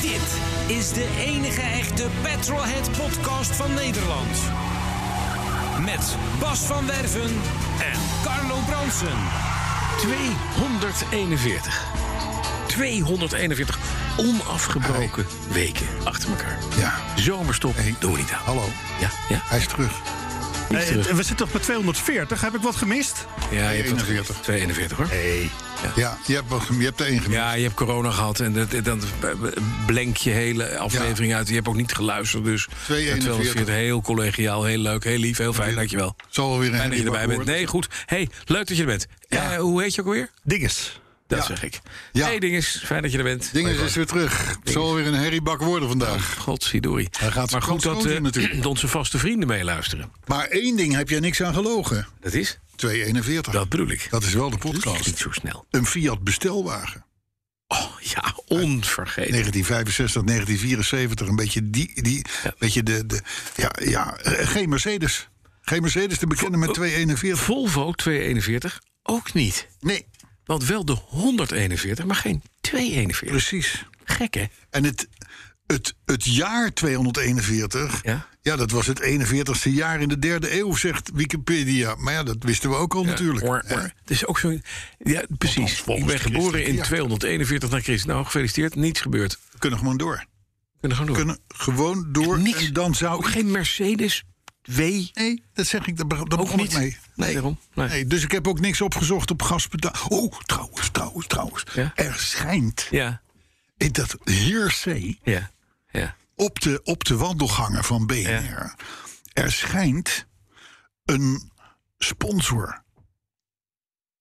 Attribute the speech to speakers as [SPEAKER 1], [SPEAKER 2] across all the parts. [SPEAKER 1] Dit is de enige echte Petrolhead podcast van Nederland. Met Bas van Werven en Carlo Bronsen.
[SPEAKER 2] 241. 241 onafgebroken weken achter elkaar.
[SPEAKER 3] Ja,
[SPEAKER 2] Zomerstop,
[SPEAKER 3] Hey.
[SPEAKER 2] doen we niet aan.
[SPEAKER 3] hallo.
[SPEAKER 2] Ja, ja.
[SPEAKER 3] Hij is terug.
[SPEAKER 2] Niet
[SPEAKER 4] Eh,
[SPEAKER 2] terug.
[SPEAKER 4] we zitten toch bij 240? Heb ik wat gemist?
[SPEAKER 2] Ja, je hebt wat
[SPEAKER 3] 41.
[SPEAKER 2] 42 hoor.
[SPEAKER 3] Ja, je hebt, wel- je hebt er één gemist.
[SPEAKER 2] Ja, je hebt corona gehad en dat, dan blenk je hele aflevering uit. Je hebt ook niet geluisterd, dus
[SPEAKER 3] 241.
[SPEAKER 2] heel collegiaal, heel leuk, heel lief, heel fijn, dankjewel.
[SPEAKER 3] Zal wel weer een
[SPEAKER 2] Fijn dat je erbij bent. Nee, goed. hey, leuk dat je er bent. Eh, hoe heet je ook alweer?
[SPEAKER 4] Dinges.
[SPEAKER 2] Dat
[SPEAKER 3] Ja.
[SPEAKER 2] zeg ik.
[SPEAKER 3] Ja.
[SPEAKER 2] Hey Dinges, fijn dat je er bent.
[SPEAKER 3] Dinges is weer terug. Het zal weer een herriebak worden vandaag.
[SPEAKER 2] Godzidori.
[SPEAKER 3] Hij gaat
[SPEAKER 2] maar
[SPEAKER 3] zijn
[SPEAKER 2] goed
[SPEAKER 3] kans
[SPEAKER 2] dat
[SPEAKER 3] goed
[SPEAKER 2] eh,
[SPEAKER 3] doen natuurlijk.
[SPEAKER 2] onze vaste vrienden meeluisteren.
[SPEAKER 3] Maar één ding heb jij niks aan gelogen.
[SPEAKER 2] Dat is?
[SPEAKER 3] 241.
[SPEAKER 2] Dat bedoel ik.
[SPEAKER 3] Dat is wel de
[SPEAKER 2] Dat is niet
[SPEAKER 3] podcast.
[SPEAKER 2] zo snel.
[SPEAKER 3] Een Fiat bestelwagen.
[SPEAKER 2] Oh ja, onvergetelijk.
[SPEAKER 3] 1965, 1974. Een beetje, die, die, beetje de, de... Ja, ja, eh, geen Mercedes. Geen Mercedes te bekennen
[SPEAKER 2] Oh,
[SPEAKER 3] met 241.
[SPEAKER 2] Volvo 241 ook niet.
[SPEAKER 3] Nee,
[SPEAKER 2] Want wel de 141, maar geen 241.
[SPEAKER 3] precies.
[SPEAKER 2] Gek hè?
[SPEAKER 3] En het, het, het jaar 241,
[SPEAKER 2] Ja.
[SPEAKER 3] ja. dat was het 41ste jaar in de derde eeuw, zegt Wikipedia. Maar ja, dat wisten we ook al natuurlijk.
[SPEAKER 2] Or,
[SPEAKER 3] hè?
[SPEAKER 2] or. Het is ook zo. Ja, precies.
[SPEAKER 3] volgens
[SPEAKER 2] Ik ben geboren
[SPEAKER 3] Christus,
[SPEAKER 2] in
[SPEAKER 3] ja.
[SPEAKER 2] 241 na Christus. Nou, gefeliciteerd. Niets gebeurd.
[SPEAKER 3] We kunnen gewoon door.
[SPEAKER 2] We kunnen gewoon door.
[SPEAKER 3] We kunnen gewoon door.
[SPEAKER 2] Niks.
[SPEAKER 3] En dan zou
[SPEAKER 2] Ook
[SPEAKER 3] ik...
[SPEAKER 2] geen Mercedes W.
[SPEAKER 3] Nee, dat zeg ik, daar be- daar
[SPEAKER 2] Ook
[SPEAKER 3] begon
[SPEAKER 2] niet.
[SPEAKER 3] ik mee.
[SPEAKER 2] Nee, daarom. Nee.
[SPEAKER 3] Nee, dus ik heb ook niks opgezocht op gasbetaal. Oh, trouwens, trouwens, trouwens.
[SPEAKER 2] Ja?
[SPEAKER 3] Er schijnt
[SPEAKER 2] Ja.
[SPEAKER 3] in dat hearsay
[SPEAKER 2] Ja. Ja.
[SPEAKER 3] op de, op de wandelgangen van BNR... er schijnt een sponsor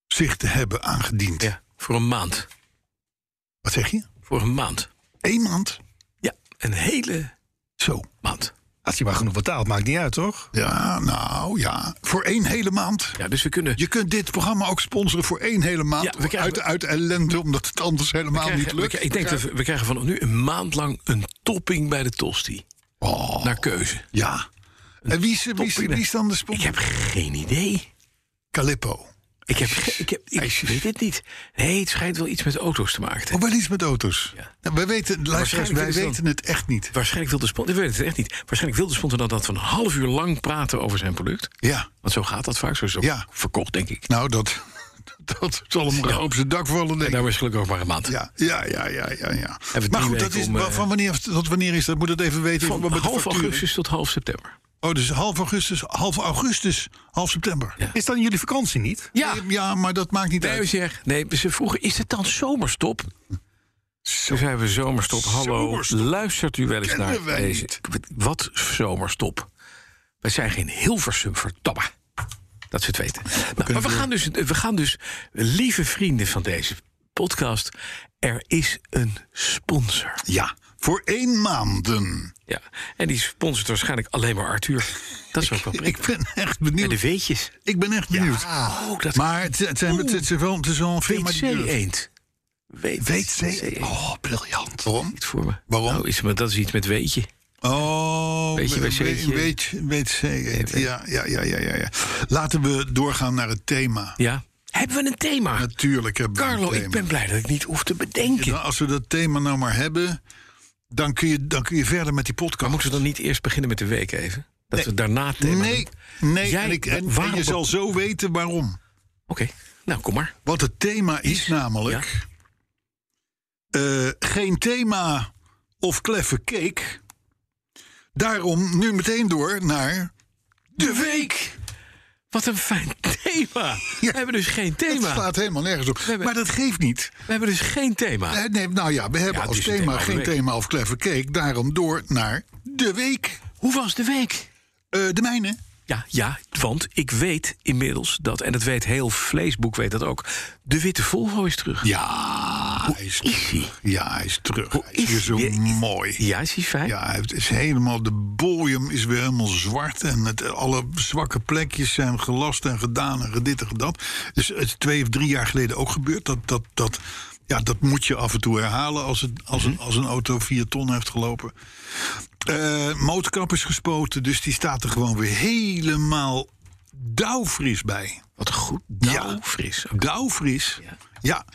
[SPEAKER 3] zich te hebben aangediend.
[SPEAKER 2] Ja. Voor een maand.
[SPEAKER 3] Wat zeg je?
[SPEAKER 2] Voor een maand.
[SPEAKER 3] Eén maand?
[SPEAKER 2] Ja. Een hele
[SPEAKER 3] Zo.
[SPEAKER 2] maand.
[SPEAKER 4] Als je maar genoeg betaalt, maakt niet uit, toch?
[SPEAKER 3] Ja, nou ja. Voor één hele maand.
[SPEAKER 2] Ja, dus we kunnen.
[SPEAKER 3] Je kunt dit programma ook sponsoren voor één hele maand.
[SPEAKER 2] Ja, we krijgen-
[SPEAKER 3] uit, uit ellende, omdat het anders helemaal
[SPEAKER 2] krijgen-
[SPEAKER 3] niet lukt.
[SPEAKER 2] we- ik denk dat we, we krijgen vanaf nu een maand lang een topping bij de Tosti.
[SPEAKER 3] Oh.
[SPEAKER 2] Naar keuze.
[SPEAKER 3] Ja. En wie is, wie, is,
[SPEAKER 2] Top idee.
[SPEAKER 3] wie is dan de
[SPEAKER 2] Ik
[SPEAKER 3] sponsor?
[SPEAKER 2] heb geen idee.
[SPEAKER 3] Calippo.
[SPEAKER 2] Ik, heb, ge- ik, heb, ik
[SPEAKER 3] IJsjes.
[SPEAKER 2] weet het niet. Nee, het schijnt wel iets met auto's te maken te
[SPEAKER 3] Oh, wel iets met auto's.
[SPEAKER 2] Ja.
[SPEAKER 3] Nou, wij weten, luisteraars,
[SPEAKER 2] Waarschijnlijk
[SPEAKER 3] wij
[SPEAKER 2] is het
[SPEAKER 3] weten het echt niet.
[SPEAKER 2] Waarschijnlijk wil de sponsor, ik weet het echt niet. Waarschijnlijk wil de sponsor dan dat we een half uur lang praten over zijn product.
[SPEAKER 3] Ja.
[SPEAKER 2] Want zo gaat dat vaak, zo is het ook
[SPEAKER 3] Ja.
[SPEAKER 2] verkocht, denk ik.
[SPEAKER 3] Nou, dat, dat zal hem
[SPEAKER 2] Ja.
[SPEAKER 3] op zijn dak vallen, denk
[SPEAKER 2] En
[SPEAKER 3] ik.
[SPEAKER 2] daar was gelukkig ook maar een maand.
[SPEAKER 3] Ja, ja, ja, ja, ja. ja.
[SPEAKER 2] nou- drie
[SPEAKER 3] Maar goed,
[SPEAKER 2] weken
[SPEAKER 3] dat is,
[SPEAKER 2] om,
[SPEAKER 3] wa-
[SPEAKER 2] eh,
[SPEAKER 3] van wanneer, tot wanneer is dat? Moet het even weten.
[SPEAKER 2] Van
[SPEAKER 3] Wat met de
[SPEAKER 2] half
[SPEAKER 3] facturen?
[SPEAKER 2] augustus tot half september.
[SPEAKER 3] Oh, dus half augustus, half augustus, half september.
[SPEAKER 2] Ja.
[SPEAKER 4] Is dan jullie vakantie niet?
[SPEAKER 2] Ja,
[SPEAKER 3] Nee, ja maar dat maakt niet
[SPEAKER 2] nee,
[SPEAKER 3] uit.
[SPEAKER 2] zeg, nee, ze vroegen, is het dan zomerstop? Toen zeiden we zomerstop, hallo,
[SPEAKER 3] Zomerstop.
[SPEAKER 2] luistert u wel eens
[SPEAKER 3] Kennen
[SPEAKER 2] naar
[SPEAKER 3] wij
[SPEAKER 2] deze...
[SPEAKER 3] niet.
[SPEAKER 2] Wat zomerstop? Wij zijn geen Hilversum verdamme. Dat ze het weten. Nou, maar we gaan, dus, we gaan dus, lieve vrienden van deze podcast... er is een sponsor.
[SPEAKER 3] Ja, voor één maanden.
[SPEAKER 2] Ja, en die sponsort waarschijnlijk alleen maar Arthur. Dat is ook wel prima.
[SPEAKER 3] Ik ben echt
[SPEAKER 2] En de
[SPEAKER 3] benieuwd.
[SPEAKER 2] weetjes.
[SPEAKER 3] Ik ben echt benieuwd.
[SPEAKER 2] Oh, dat
[SPEAKER 3] Maar het, het, zijn, het, is wel, het is wel een firma die
[SPEAKER 2] E.
[SPEAKER 3] durft.
[SPEAKER 2] WC-eend.
[SPEAKER 3] WC.
[SPEAKER 2] Oh,
[SPEAKER 3] Oh, briljant. Waarom?
[SPEAKER 2] niet voor me.
[SPEAKER 3] Waarom?
[SPEAKER 2] Nou, is, maar dat is iets met weetje.
[SPEAKER 3] Oh,
[SPEAKER 2] Beetje
[SPEAKER 3] we-
[SPEAKER 2] WC-tje.
[SPEAKER 3] we- weet- WC. Ja, ja, ja, ja, ja, ja. Laten we doorgaan naar het thema.
[SPEAKER 2] Ja. Hebben we een thema?
[SPEAKER 3] Natuurlijk hebben we een
[SPEAKER 2] Carlo, ik
[SPEAKER 3] thema.
[SPEAKER 2] ben blij dat ik niet hoef te bedenken.
[SPEAKER 3] Nou, als we dat thema nou maar hebben, dan kun je, dan kun je verder met die podcast.
[SPEAKER 2] Moeten we dan niet eerst beginnen met de week even? Dat we daarna het thema
[SPEAKER 3] nee,
[SPEAKER 2] doen?
[SPEAKER 3] nee.
[SPEAKER 2] Jij-
[SPEAKER 3] en, ik, en, en
[SPEAKER 2] waarom-
[SPEAKER 3] je zal zo weten waarom.
[SPEAKER 2] Oké, nou kom maar.
[SPEAKER 3] Want het thema is namelijk... eh, geen thema of kleffe cake. Daarom nu meteen door naar... De week!
[SPEAKER 2] Wat een fijn thema. We hebben dus geen
[SPEAKER 3] Het
[SPEAKER 2] thema.
[SPEAKER 3] slaat helemaal nergens op.
[SPEAKER 2] hebben-
[SPEAKER 3] Maar dat geeft niet.
[SPEAKER 2] We hebben dus geen thema.
[SPEAKER 3] Eh, Nee, nou ja, we hebben
[SPEAKER 2] het
[SPEAKER 3] als
[SPEAKER 2] is een
[SPEAKER 3] thema,
[SPEAKER 2] thema van de
[SPEAKER 3] geen
[SPEAKER 2] week.
[SPEAKER 3] thema of kleffe cake. Daarom door naar de week.
[SPEAKER 2] Hoe was de week?
[SPEAKER 3] Eh, de mijne.
[SPEAKER 2] Ja, ja, want ik weet inmiddels dat, en dat weet heel Vleesboek weet dat ook, de witte Volvo is terug.
[SPEAKER 3] Ja, hij is,
[SPEAKER 2] is hij?
[SPEAKER 3] Ja, hij is terug. hij
[SPEAKER 2] is
[SPEAKER 3] is weer zo
[SPEAKER 2] hij?
[SPEAKER 3] mooi.
[SPEAKER 2] Ja, is hij fijn?
[SPEAKER 3] Ja, het is helemaal, de bojem is weer helemaal zwart. En het, alle zwakke plekjes zijn gelast en gedaan en gedit en gedat. Dus het is twee of drie jaar geleden ook gebeurd. Dat, dat, dat, ja, dat moet je af en toe herhalen als, het, als, een, als een auto vier ton heeft gelopen. Eh motorkap is gespoten, dus die staat er gewoon weer helemaal dauwfris bij.
[SPEAKER 2] Wat goed,
[SPEAKER 3] Ja.
[SPEAKER 2] nou, fris.
[SPEAKER 3] Douwfris. Ja.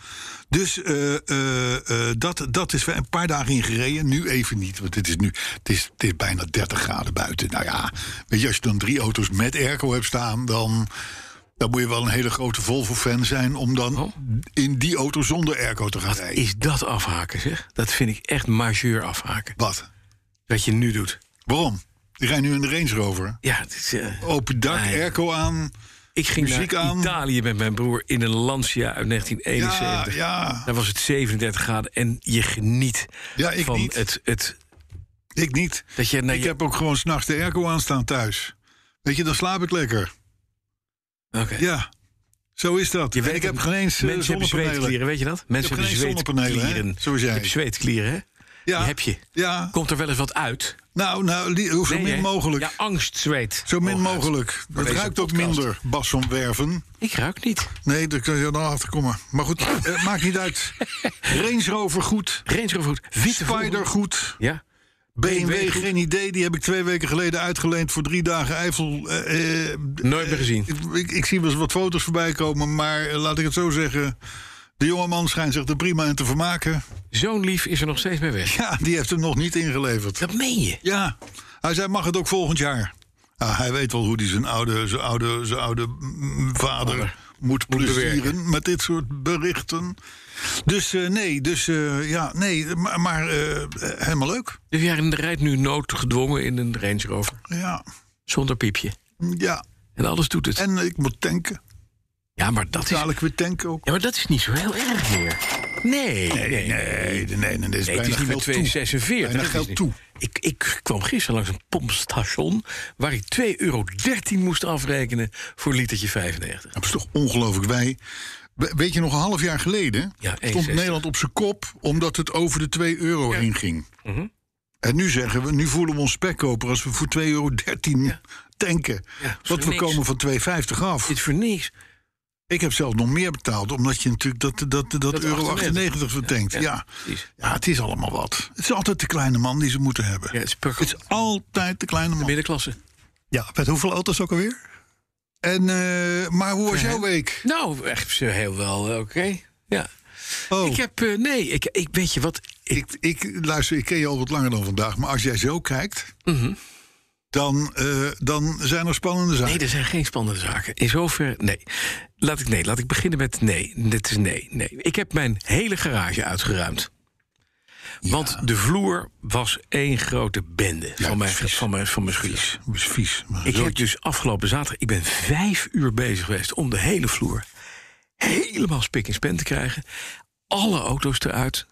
[SPEAKER 3] Dus eh, eh, eh, dat, dat is weer een paar dagen in gereden. Nu even niet, want het is nu het is, het is bijna 30 graden buiten. Nou ja, weet je, als je dan drie auto's met airco hebt staan, dan, dan moet je wel een hele grote Volvo-fan zijn om dan
[SPEAKER 2] Oh.
[SPEAKER 3] in die auto zonder airco te gaan rijden.
[SPEAKER 2] Is dat afhaken, zeg? Dat vind ik echt majeur afhaken.
[SPEAKER 3] Wat?
[SPEAKER 2] Wat je nu doet.
[SPEAKER 3] Waarom? Die rijdt nu in de Range Rover.
[SPEAKER 2] Ja, het is, eh,
[SPEAKER 3] Open dak,
[SPEAKER 2] Nee.
[SPEAKER 3] airco aan.
[SPEAKER 2] ik ging
[SPEAKER 3] Oh, muziek
[SPEAKER 2] naar
[SPEAKER 3] aan.
[SPEAKER 2] Italië met mijn broer in een Lancia uit
[SPEAKER 3] Ja,
[SPEAKER 2] 1971.
[SPEAKER 3] ja,
[SPEAKER 2] Daar was het 37 graden en je geniet
[SPEAKER 3] Ja, ik
[SPEAKER 2] van
[SPEAKER 3] niet.
[SPEAKER 2] Het, het...
[SPEAKER 3] ik niet.
[SPEAKER 2] Dat je, nou,
[SPEAKER 3] ik
[SPEAKER 2] je-
[SPEAKER 3] heb ook gewoon s'nachts de airco aanstaan thuis. Weet je, dan slaap ik lekker.
[SPEAKER 2] Oké.
[SPEAKER 3] Ja, zo is dat.
[SPEAKER 2] Je
[SPEAKER 3] En
[SPEAKER 2] weet
[SPEAKER 3] ik
[SPEAKER 2] het,
[SPEAKER 3] heb geen eens eh,
[SPEAKER 2] Mensen hebben
[SPEAKER 3] zonnepanelen.
[SPEAKER 2] zweetklieren, weet je dat? Mensen
[SPEAKER 3] geen
[SPEAKER 2] hebben
[SPEAKER 3] zonnepanelen, hè,
[SPEAKER 2] zweetklieren.
[SPEAKER 3] zoals jij.
[SPEAKER 2] Je hebt zweetklieren, hè?
[SPEAKER 3] Ja.
[SPEAKER 2] Die heb je.
[SPEAKER 3] Ja,
[SPEAKER 2] Komt er wel eens wat uit?
[SPEAKER 3] nou, nou li- zo
[SPEAKER 2] Nee,
[SPEAKER 3] min
[SPEAKER 2] hè?
[SPEAKER 3] mogelijk.
[SPEAKER 2] Ja, angstzweet.
[SPEAKER 3] zo min
[SPEAKER 2] Hooguit.
[SPEAKER 3] mogelijk. Dat
[SPEAKER 2] deze
[SPEAKER 3] ruikt ook
[SPEAKER 2] podcast.
[SPEAKER 3] minder, Bas van Werven.
[SPEAKER 2] Ik ruik niet.
[SPEAKER 3] Nee, daar kun je dan achter komen. Maar goed, eh, maakt niet uit. Range Rover goed.
[SPEAKER 2] Range Rover goed. Witte
[SPEAKER 3] Spider
[SPEAKER 2] Volvo.
[SPEAKER 3] goed.
[SPEAKER 2] Ja.
[SPEAKER 3] BMW
[SPEAKER 2] goed.
[SPEAKER 3] geen idee. Die heb ik twee weken geleden uitgeleend voor drie dagen Eiffel. eh, eh,
[SPEAKER 2] Nooit meer gezien.
[SPEAKER 3] ik, ik- ik zie wel eens wat foto's voorbij komen. Maar eh, laat ik het zo zeggen. De jongeman schijnt zich er prima in te vermaken.
[SPEAKER 2] Zo'n lief is er nog steeds mee weg.
[SPEAKER 3] Ja, die heeft hem nog niet ingeleverd.
[SPEAKER 2] Dat meen je.
[SPEAKER 3] Ja, hij zei mag het ook volgend jaar. Ah, hij weet wel hoe hij zijn oude, zijn oude, zijn oude mm, vader moet plezieren met dit soort berichten. Dus eh, nee, dus eh, ja, nee, maar, maar eh, eh, helemaal leuk.
[SPEAKER 2] Dus jij rijdt nu noodgedwongen in een Range Rover.
[SPEAKER 3] Ja,
[SPEAKER 2] Zonder piepje.
[SPEAKER 3] ja.
[SPEAKER 2] En alles doet het.
[SPEAKER 3] En ik moet tanken.
[SPEAKER 2] Ja, maar dat is, ja,
[SPEAKER 3] Dadelijk weer tanken ook.
[SPEAKER 2] maar dat is niet zo heel erg meer. Nee. Nee, nee.
[SPEAKER 3] Nee, nee, nee, nee, dit is
[SPEAKER 2] het
[SPEAKER 3] bijna
[SPEAKER 2] is niet meer
[SPEAKER 3] geld toe.
[SPEAKER 2] 246.
[SPEAKER 3] Bijna
[SPEAKER 2] dat is
[SPEAKER 3] geld
[SPEAKER 2] niet-
[SPEAKER 3] toe.
[SPEAKER 2] Ik, ik kwam gisteren langs een pompstation... waar ik 2,13 euro moest afrekenen voor litertje 95.
[SPEAKER 3] Dat Nou, is toch ongelooflijk. Wij, we- weet je, nog een half jaar geleden
[SPEAKER 2] Ja,
[SPEAKER 3] stond
[SPEAKER 2] 1,60.
[SPEAKER 3] Nederland op zijn kop omdat het over de 2 euro heen ging.
[SPEAKER 2] Mhm.
[SPEAKER 3] En nu zeggen we, nu voelen we ons spekkoper als we voor 2,13 euro tanken.
[SPEAKER 2] Ja, is
[SPEAKER 3] Want
[SPEAKER 2] voor
[SPEAKER 3] we
[SPEAKER 2] niks.
[SPEAKER 3] komen van 2,50 af.
[SPEAKER 2] Dit is voor niks.
[SPEAKER 3] Ik heb zelf nog meer betaald, omdat je natuurlijk dat, dat, dat,
[SPEAKER 2] Dat
[SPEAKER 3] euro
[SPEAKER 2] 98
[SPEAKER 3] 98 vertankt. Ja, ja.
[SPEAKER 2] precies.
[SPEAKER 3] het is allemaal wat. Het is altijd de kleine man die ze moeten hebben.
[SPEAKER 2] Ja, het is per
[SPEAKER 3] Het is altijd de kleine man.
[SPEAKER 2] middenklasse.
[SPEAKER 4] Ja, met hoeveel auto's ook alweer?
[SPEAKER 3] En, eh, maar hoe was jouw week?
[SPEAKER 2] Nou, echt zo heel wel eh, oké. Ja.
[SPEAKER 3] Oh.
[SPEAKER 2] Ik heb... eh, nee, ik, ik weet je wat... Ik,
[SPEAKER 3] Ik, ik, luister, ik ken je al wat langer dan vandaag, maar als jij zo kijkt,
[SPEAKER 2] Mhm.
[SPEAKER 3] dan, eh, dan zijn er spannende zaken.
[SPEAKER 2] Nee, er zijn geen spannende zaken. In zover, nee. Laat ik, nee. Laat ik beginnen met nee. Dit is nee, nee. Ik heb mijn hele garage uitgeruimd. Want de vloer was één grote bende van, mijn,
[SPEAKER 3] precies.
[SPEAKER 2] van, mijn, van mijn schuur.
[SPEAKER 3] Dat is vies. Maar
[SPEAKER 2] Ik
[SPEAKER 3] zo-
[SPEAKER 2] heb dus afgelopen zaterdag, ik ben vijf uur bezig geweest om de hele vloer helemaal spik en span te krijgen. Alle auto's eruit.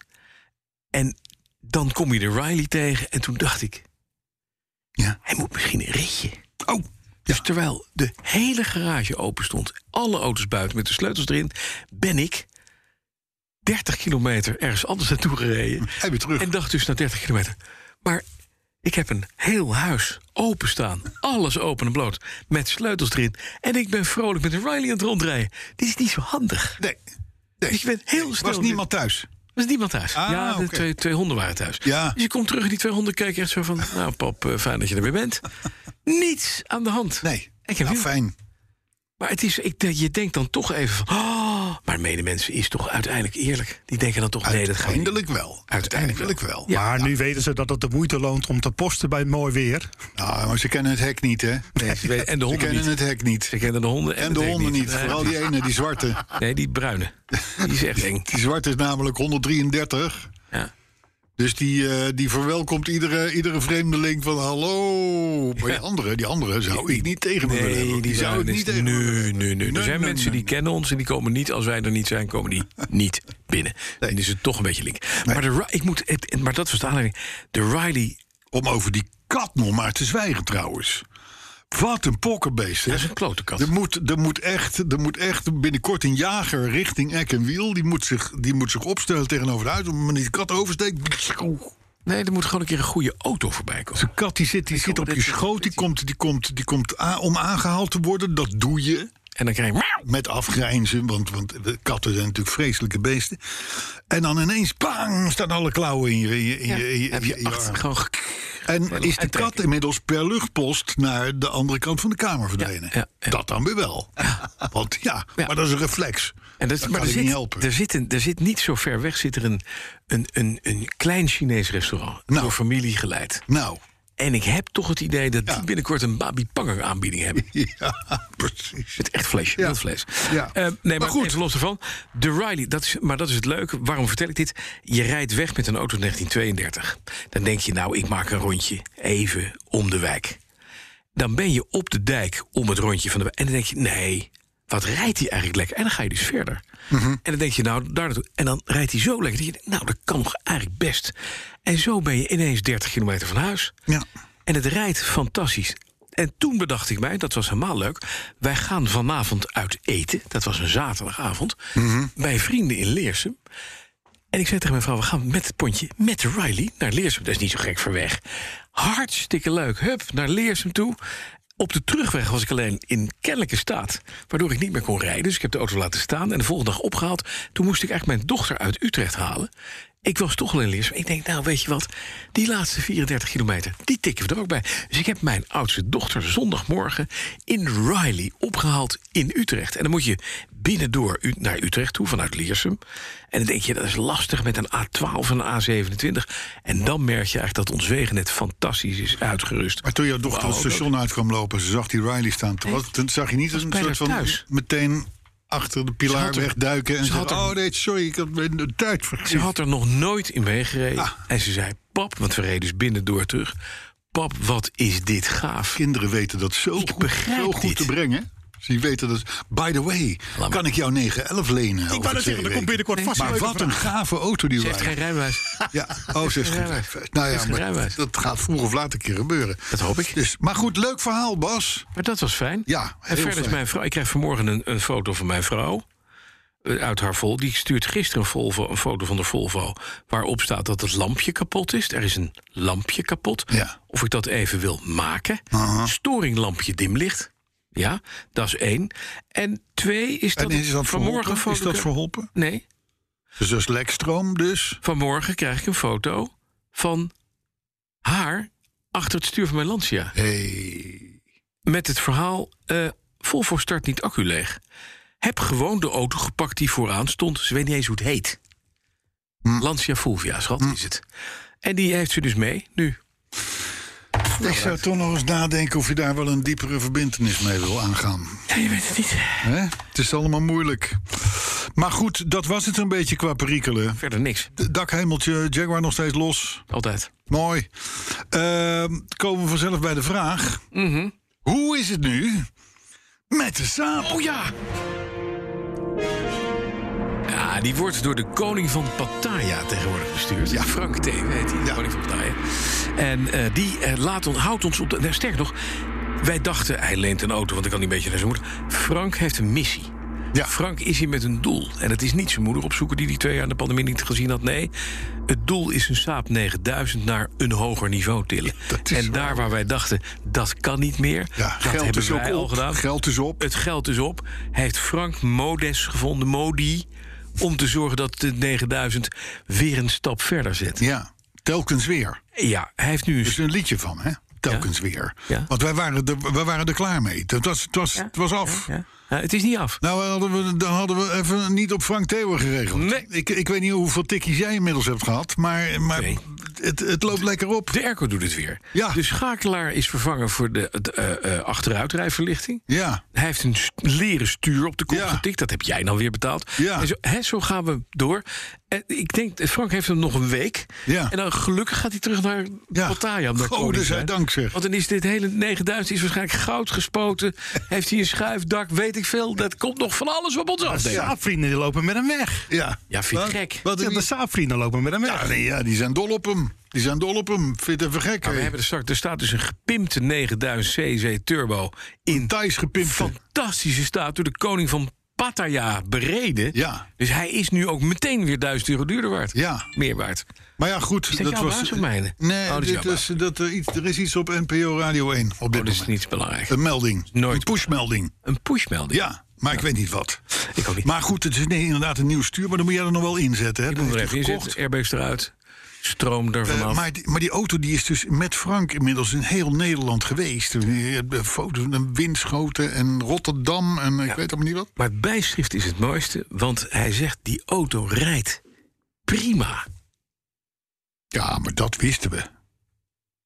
[SPEAKER 2] En dan kom je de Riley tegen. En toen dacht ik,
[SPEAKER 3] Ja.
[SPEAKER 2] hij moet misschien een ritje.
[SPEAKER 3] Oh,
[SPEAKER 2] Dus terwijl de hele garage open stond, alle auto's buiten met de sleutels erin, ben ik 30 kilometer ergens anders naartoe gereden.
[SPEAKER 3] hij weer terug.
[SPEAKER 2] En dacht dus na 30 kilometer. Maar ik heb een heel huis openstaan. Alles open en bloot. Met sleutels erin. En ik ben vrolijk met een Riley aan het rondrijden. Dit is niet zo handig.
[SPEAKER 3] nee,
[SPEAKER 2] Dus ik ben heel
[SPEAKER 3] er
[SPEAKER 2] snel.
[SPEAKER 3] was niemand thuis.
[SPEAKER 2] Er was niemand thuis.
[SPEAKER 3] Ah,
[SPEAKER 2] ja, de
[SPEAKER 3] oké.
[SPEAKER 2] twee, twee honden waren thuis.
[SPEAKER 3] Ja.
[SPEAKER 2] Dus je komt terug en die twee honden kijken echt zo van... nou pap, eh, fijn dat je er weer bent. Niets aan de hand.
[SPEAKER 3] Nee,
[SPEAKER 2] Ik heb
[SPEAKER 3] nou,
[SPEAKER 2] heel-
[SPEAKER 3] fijn.
[SPEAKER 2] Maar het is, ik, denk- je denkt dan toch even van... Oh, maar medemensen is toch uiteindelijk eerlijk. Die denken dan toch... Nee, dat gaan we niet.
[SPEAKER 3] Uiteindelijk wel.
[SPEAKER 2] Uiteindelijk
[SPEAKER 3] Uiteindelijk wel.
[SPEAKER 2] Ja.
[SPEAKER 4] maar nu weten ze dat het de moeite loont om te posten bij mooi weer.
[SPEAKER 3] Nou, maar ze kennen het hek niet, hè?
[SPEAKER 2] Nee, ze weten- en de
[SPEAKER 3] ze
[SPEAKER 2] honden
[SPEAKER 3] kennen
[SPEAKER 2] niet.
[SPEAKER 3] het hek niet.
[SPEAKER 2] Ze kennen de honden en,
[SPEAKER 3] En
[SPEAKER 2] het
[SPEAKER 3] de
[SPEAKER 2] hek
[SPEAKER 3] honden niet.
[SPEAKER 2] Nee,
[SPEAKER 3] Vooral die ene, die zwarte.
[SPEAKER 2] Nee, die bruine. Die is echt eng.
[SPEAKER 3] Die zwarte is namelijk 133.
[SPEAKER 2] Ja.
[SPEAKER 3] Dus die, eh, die verwelkomt iedere, iedere vreemdeling van hallo. Maar die andere, die andere zou ik niet tegen me willen hebben.
[SPEAKER 2] Nee, die dus
[SPEAKER 3] zou ik
[SPEAKER 2] bruine is-
[SPEAKER 3] niet tegen me
[SPEAKER 2] Nee,
[SPEAKER 3] willen
[SPEAKER 2] nee,
[SPEAKER 3] hebben.
[SPEAKER 2] nee. Er
[SPEAKER 3] Nee,
[SPEAKER 2] zijn
[SPEAKER 3] nee,
[SPEAKER 2] mensen
[SPEAKER 3] nee,
[SPEAKER 2] die kennen ons en die komen niet... als wij er niet zijn, komen die niet binnen. Dan is het toch een beetje link. Maar, de, Ri- ik moet, het- maar dat was de aanleiding. De Riley...
[SPEAKER 3] Om over die kat nog maar te zwijgen trouwens. Wat een pokkenbeest, hè?
[SPEAKER 2] Dat is een klote kat.
[SPEAKER 3] Er moet, er, moet echt, er moet echt binnenkort een jager richting Eck en Wiel. Die moet zich, die moet zich opstellen tegenover de auto. Maar die de kat oversteekt.
[SPEAKER 2] Nee, er moet gewoon een keer een goede auto voorbij komen.
[SPEAKER 3] De kat die zit, die zit op je schoot. Die komt, die komt, die komt a- om aangehaald te worden. Dat doe je.
[SPEAKER 2] En dan krijg je... miauw.
[SPEAKER 3] Met afgrijnzen, want, want de katten zijn natuurlijk vreselijke beesten. En dan ineens, bang, staan alle klauwen in je, in je, in je, in je-
[SPEAKER 2] Heb
[SPEAKER 3] in je
[SPEAKER 2] je achter
[SPEAKER 3] arm.
[SPEAKER 2] gewoon...
[SPEAKER 3] En is de kat
[SPEAKER 2] uittrekken.
[SPEAKER 3] inmiddels per luchtpost naar de andere kant van de kamer verdwenen?
[SPEAKER 2] ja, ja.
[SPEAKER 3] Dat dan weer wel. Want ja,
[SPEAKER 2] Ja.
[SPEAKER 3] maar dat is een reflex.
[SPEAKER 2] En dat, maar
[SPEAKER 3] kan
[SPEAKER 2] er
[SPEAKER 3] ik
[SPEAKER 2] zit,
[SPEAKER 3] niet helpen.
[SPEAKER 2] Er zit, een, er zit niet zo ver weg zit er een, een, een, een klein Chinees restaurant.
[SPEAKER 3] Nou.
[SPEAKER 2] Door familie geleid.
[SPEAKER 3] Nou,
[SPEAKER 2] En ik heb toch het idee dat
[SPEAKER 3] Ja.
[SPEAKER 2] die binnenkort een Babi Panger aanbieding hebben.
[SPEAKER 3] ja, precies.
[SPEAKER 2] Het echt vlees,
[SPEAKER 3] Ja.
[SPEAKER 2] wild vlees.
[SPEAKER 3] Ja.
[SPEAKER 2] Eh, nee, maar,
[SPEAKER 3] Maar goed.
[SPEAKER 2] goed, los ervan. De Riley, dat is, maar dat is het leuke. Waarom vertel ik dit? Je rijdt weg met een auto uit 1932. Dan denk je, nou, ik maak een rondje. Even om de wijk. Dan ben je op de dijk om het rondje van de wijk. En dan denk je, nee, wat rijdt hij eigenlijk lekker? En dan ga je dus verder.
[SPEAKER 3] Mhm.
[SPEAKER 2] En dan denk je, nou, daar naartoe. En dan rijdt hij zo lekker. Dan denk je, nou, dat kan nog eigenlijk best. En zo ben je ineens 30 kilometer van huis.
[SPEAKER 3] Ja.
[SPEAKER 2] En het rijdt fantastisch. En toen bedacht ik mij, dat was helemaal leuk. Wij gaan vanavond uit eten. Dat was een zaterdagavond. Bij vrienden in Leersum. En ik zei tegen mijn vrouw: we gaan met het pontje met Riley naar Leersum. Dat is niet zo gek voor weg. Hartstikke leuk. Hup, naar Leersum toe. Op de terugweg was ik alleen in kennelijke staat, waardoor ik niet meer kon rijden. Dus ik heb de auto laten staan en de volgende dag opgehaald. Toen moest ik eigenlijk mijn dochter uit Utrecht halen. Ik was toch al in Leersum. Ik denk, nou weet je wat, die laatste 34 kilometer, die tikken we er ook bij. Dus ik heb mijn oudste dochter zondagmorgen in Riley opgehaald in Utrecht. En dan moet je binnendoor U- naar Utrecht toe, vanuit Leersum. En dan denk je, dat is lastig met een A12 en een A27. En dan merk je eigenlijk dat ons wegennet fantastisch is uitgerust.
[SPEAKER 3] Maar toen jouw dochter
[SPEAKER 2] Wauw,
[SPEAKER 3] het station uit kwam lopen, ze zag die Riley staan. Toen, was- toen zag je niet een
[SPEAKER 2] bijna
[SPEAKER 3] soort van
[SPEAKER 2] thuis.
[SPEAKER 3] meteen achter de
[SPEAKER 2] Ze
[SPEAKER 3] pilaar
[SPEAKER 2] had er-
[SPEAKER 3] wegduiken. En
[SPEAKER 2] ze had
[SPEAKER 3] zeggen,
[SPEAKER 2] er-
[SPEAKER 3] oh nee, sorry, ik had mijn de tijd vergeten.
[SPEAKER 2] Ze had er nog nooit in meegereden.
[SPEAKER 3] Ah.
[SPEAKER 2] En ze zei, pap, want we reden dus binnendoor terug. Pap, wat is dit gaaf.
[SPEAKER 3] Kinderen weten dat zo,
[SPEAKER 2] Ik
[SPEAKER 3] goed,
[SPEAKER 2] begrijp
[SPEAKER 3] zo goed
[SPEAKER 2] dit.
[SPEAKER 3] te brengen. Ze weten dat... By the way,
[SPEAKER 2] maar.
[SPEAKER 3] kan ik jou 911 lenen? over
[SPEAKER 4] wou
[SPEAKER 3] twee
[SPEAKER 4] net zeggen, er komt
[SPEAKER 3] weken?
[SPEAKER 4] binnenkort vast een
[SPEAKER 3] Maar
[SPEAKER 4] leuke
[SPEAKER 3] wat een gave auto die
[SPEAKER 2] Ze heeft geen
[SPEAKER 3] Riley.
[SPEAKER 2] rijbewijs.
[SPEAKER 3] Ja, oh, ze heeft
[SPEAKER 2] rijbewijs.
[SPEAKER 3] geen rijbewijs. Nou
[SPEAKER 2] Ze
[SPEAKER 3] ja,
[SPEAKER 2] heeft geen
[SPEAKER 3] maar
[SPEAKER 2] rijbewijs.
[SPEAKER 3] dat gaat vroeg of laat een keer gebeuren.
[SPEAKER 2] Dat hoop ik.
[SPEAKER 3] Dus, maar goed, leuk verhaal, Bas.
[SPEAKER 2] Maar dat was fijn.
[SPEAKER 3] Ja,
[SPEAKER 2] en
[SPEAKER 3] heel
[SPEAKER 2] verder is
[SPEAKER 3] fijn.
[SPEAKER 2] mijn vrouw. Ik krijg vanmorgen een, een foto van mijn vrouw. eh, Uit haar Volvo. Die stuurt gisteren een, Volvo, een foto van de Volvo. Waarop staat dat het lampje kapot is. Er is een lampje kapot.
[SPEAKER 3] Ja.
[SPEAKER 2] Of ik dat even wil maken. Storinglampje dimlicht. Ja, dat is één. En twee is dat.
[SPEAKER 3] en is dat
[SPEAKER 2] vanmorgen
[SPEAKER 3] verholpen? Is
[SPEAKER 2] foto-
[SPEAKER 3] dat verholpen?
[SPEAKER 2] Nee,
[SPEAKER 3] Dus dat is lekstroom dus.
[SPEAKER 2] vanmorgen krijg ik een foto van haar achter het stuur van mijn Lancia.
[SPEAKER 3] Hey.
[SPEAKER 2] met het verhaal... eh Volvo start niet accu leeg. Heb gewoon de auto gepakt die vooraan stond. Ze weet niet eens hoe het heet. Lancia Fulvia, schat, is het. En die heeft ze dus mee, nu.
[SPEAKER 3] Ik zou toch nog eens nadenken of je daar wel een diepere verbindenis mee wil aangaan.
[SPEAKER 2] Ja, je weet het niet.
[SPEAKER 3] Hè? Het is allemaal moeilijk. Maar goed, dat was het een beetje qua perikelen.
[SPEAKER 2] Verder niks,
[SPEAKER 3] D- Dakhemeltje, Jaguar nog steeds los.
[SPEAKER 2] altijd.
[SPEAKER 3] Mooi. Ehm, komen we vanzelf bij de vraag.
[SPEAKER 2] Mhm.
[SPEAKER 3] Hoe is het nu met de saap?
[SPEAKER 2] Oh ja! Ja, die wordt door de koning van Pattaya tegenwoordig bestuurd. Ja. Frank T. heet hij, de koning van Pattaya. En eh, die eh, laat ons, houdt ons op de... Nou, sterker nog, wij dachten, hij leent een auto... want dan kan hij een beetje naar zijn moeder. Frank heeft een missie.
[SPEAKER 3] Ja.
[SPEAKER 2] Frank is hier met een doel. En het is niet zijn moeder opzoeken die die twee jaar in de pandemie niet gezien had. Nee, het doel is een Saab 9000 naar een hoger niveau tillen.
[SPEAKER 3] dat is
[SPEAKER 2] en
[SPEAKER 3] waar.
[SPEAKER 2] daar waar wij dachten, dat kan niet meer.
[SPEAKER 3] Ja,
[SPEAKER 2] dat
[SPEAKER 3] geld
[SPEAKER 2] hebben
[SPEAKER 3] is ook
[SPEAKER 2] wij al
[SPEAKER 3] op.
[SPEAKER 2] gedaan.
[SPEAKER 3] Geld is op.
[SPEAKER 2] Het geld is op. Hij heeft Frank Modes gevonden, Modi... om te zorgen dat de 9000 weer een stap verder zet.
[SPEAKER 3] Ja, telkens weer.
[SPEAKER 2] Ja, hij heeft nu...
[SPEAKER 3] Er is
[SPEAKER 2] een-
[SPEAKER 3] een liedje van, hè? Telkens weer.
[SPEAKER 2] Ja.
[SPEAKER 3] Want wij waren, er, wij waren er klaar mee. Het was, het was, het was af.
[SPEAKER 2] Ja? Ja, het is niet af.
[SPEAKER 3] Nou, hadden we, dan hadden we even niet op Frank Theeuwen geregeld.
[SPEAKER 2] Nee.
[SPEAKER 3] Ik, ik weet niet hoeveel tikkies jij inmiddels hebt gehad, maar, maar
[SPEAKER 2] Nee.
[SPEAKER 3] het, het loopt lekker op.
[SPEAKER 2] De airco doet het weer.
[SPEAKER 3] Ja.
[SPEAKER 2] De schakelaar is vervangen voor de, de eh, eh, achteruitrijverlichting.
[SPEAKER 3] Ja,
[SPEAKER 2] Hij heeft een st- leren stuur op de kop
[SPEAKER 3] Ja.
[SPEAKER 2] getikt. Dat heb jij dan weer betaald.
[SPEAKER 3] Ja.
[SPEAKER 2] En zo, hè, zo gaan we door. En ik denk, Frank heeft hem nog een week.
[SPEAKER 3] Ja.
[SPEAKER 2] En dan gelukkig gaat hij terug naar
[SPEAKER 3] Ja. dus
[SPEAKER 2] Pattaya. om daar
[SPEAKER 3] Gode
[SPEAKER 2] koning te
[SPEAKER 3] zij
[SPEAKER 2] zijn.
[SPEAKER 3] dank, zeg.
[SPEAKER 2] Want dan is dit hele 9000 is waarschijnlijk goud gespoten. heeft hij een schuifdak, weet ik veel. Dat komt nog van alles op ons af. denk ik.
[SPEAKER 4] Saapvrienden die lopen met hem weg.
[SPEAKER 3] Ja.
[SPEAKER 2] Ja, vind ik gek.
[SPEAKER 3] Wat
[SPEAKER 4] Ja,
[SPEAKER 3] een-
[SPEAKER 4] de Saapvrienden lopen met hem
[SPEAKER 3] ja,
[SPEAKER 4] weg.
[SPEAKER 3] nee, ja, die zijn dol op hem. Die zijn dol op hem. Vind het even gek.
[SPEAKER 2] Maar we
[SPEAKER 3] hè?
[SPEAKER 2] hebben er straks, er staat dus een gepimpte 9000 cc turbo in
[SPEAKER 3] Thais gepimpt.
[SPEAKER 2] fantastische staat door de koning van Pattaya bereden.
[SPEAKER 3] Ja.
[SPEAKER 2] Dus hij is nu ook meteen weer 1000 euro duurder waard.
[SPEAKER 3] Ja.
[SPEAKER 2] Meer waard. Oh,
[SPEAKER 3] Maar ja, goed.
[SPEAKER 2] Is dat jouw baas of mijne?
[SPEAKER 3] Nee,
[SPEAKER 2] Oh, dat is
[SPEAKER 3] dit
[SPEAKER 2] jouw
[SPEAKER 3] is, dat er, iets, er is iets op NPO Radio 1 op dit
[SPEAKER 2] Oh, dat is
[SPEAKER 3] moment.
[SPEAKER 2] niet belangrijk.
[SPEAKER 3] Een melding.
[SPEAKER 2] Nooit.
[SPEAKER 3] Een pushmelding.
[SPEAKER 2] Een pushmelding.
[SPEAKER 3] Ja, maar ik weet niet wat.
[SPEAKER 2] Ik ook niet.
[SPEAKER 3] Maar goed, het is nee, inderdaad een nieuw stuur, maar dan moet jij er nog wel inzetten. Hè?
[SPEAKER 2] Ik
[SPEAKER 3] Dan
[SPEAKER 2] moet er
[SPEAKER 3] heeft
[SPEAKER 2] even
[SPEAKER 3] hij
[SPEAKER 2] in
[SPEAKER 3] gekocht.
[SPEAKER 2] zitten. Airbags eruit. Stroom er
[SPEAKER 3] Eh,
[SPEAKER 2] vanaf.
[SPEAKER 3] maar, die, maar die auto die is dus met Frank inmiddels in heel Nederland geweest. Je hebt, eh, Foto's van Winschoten en Rotterdam en ik weet allemaal niet wat.
[SPEAKER 2] Maar het bijschrift is het mooiste, want hij zegt: die auto rijdt prima.
[SPEAKER 3] Ja, maar dat wisten we.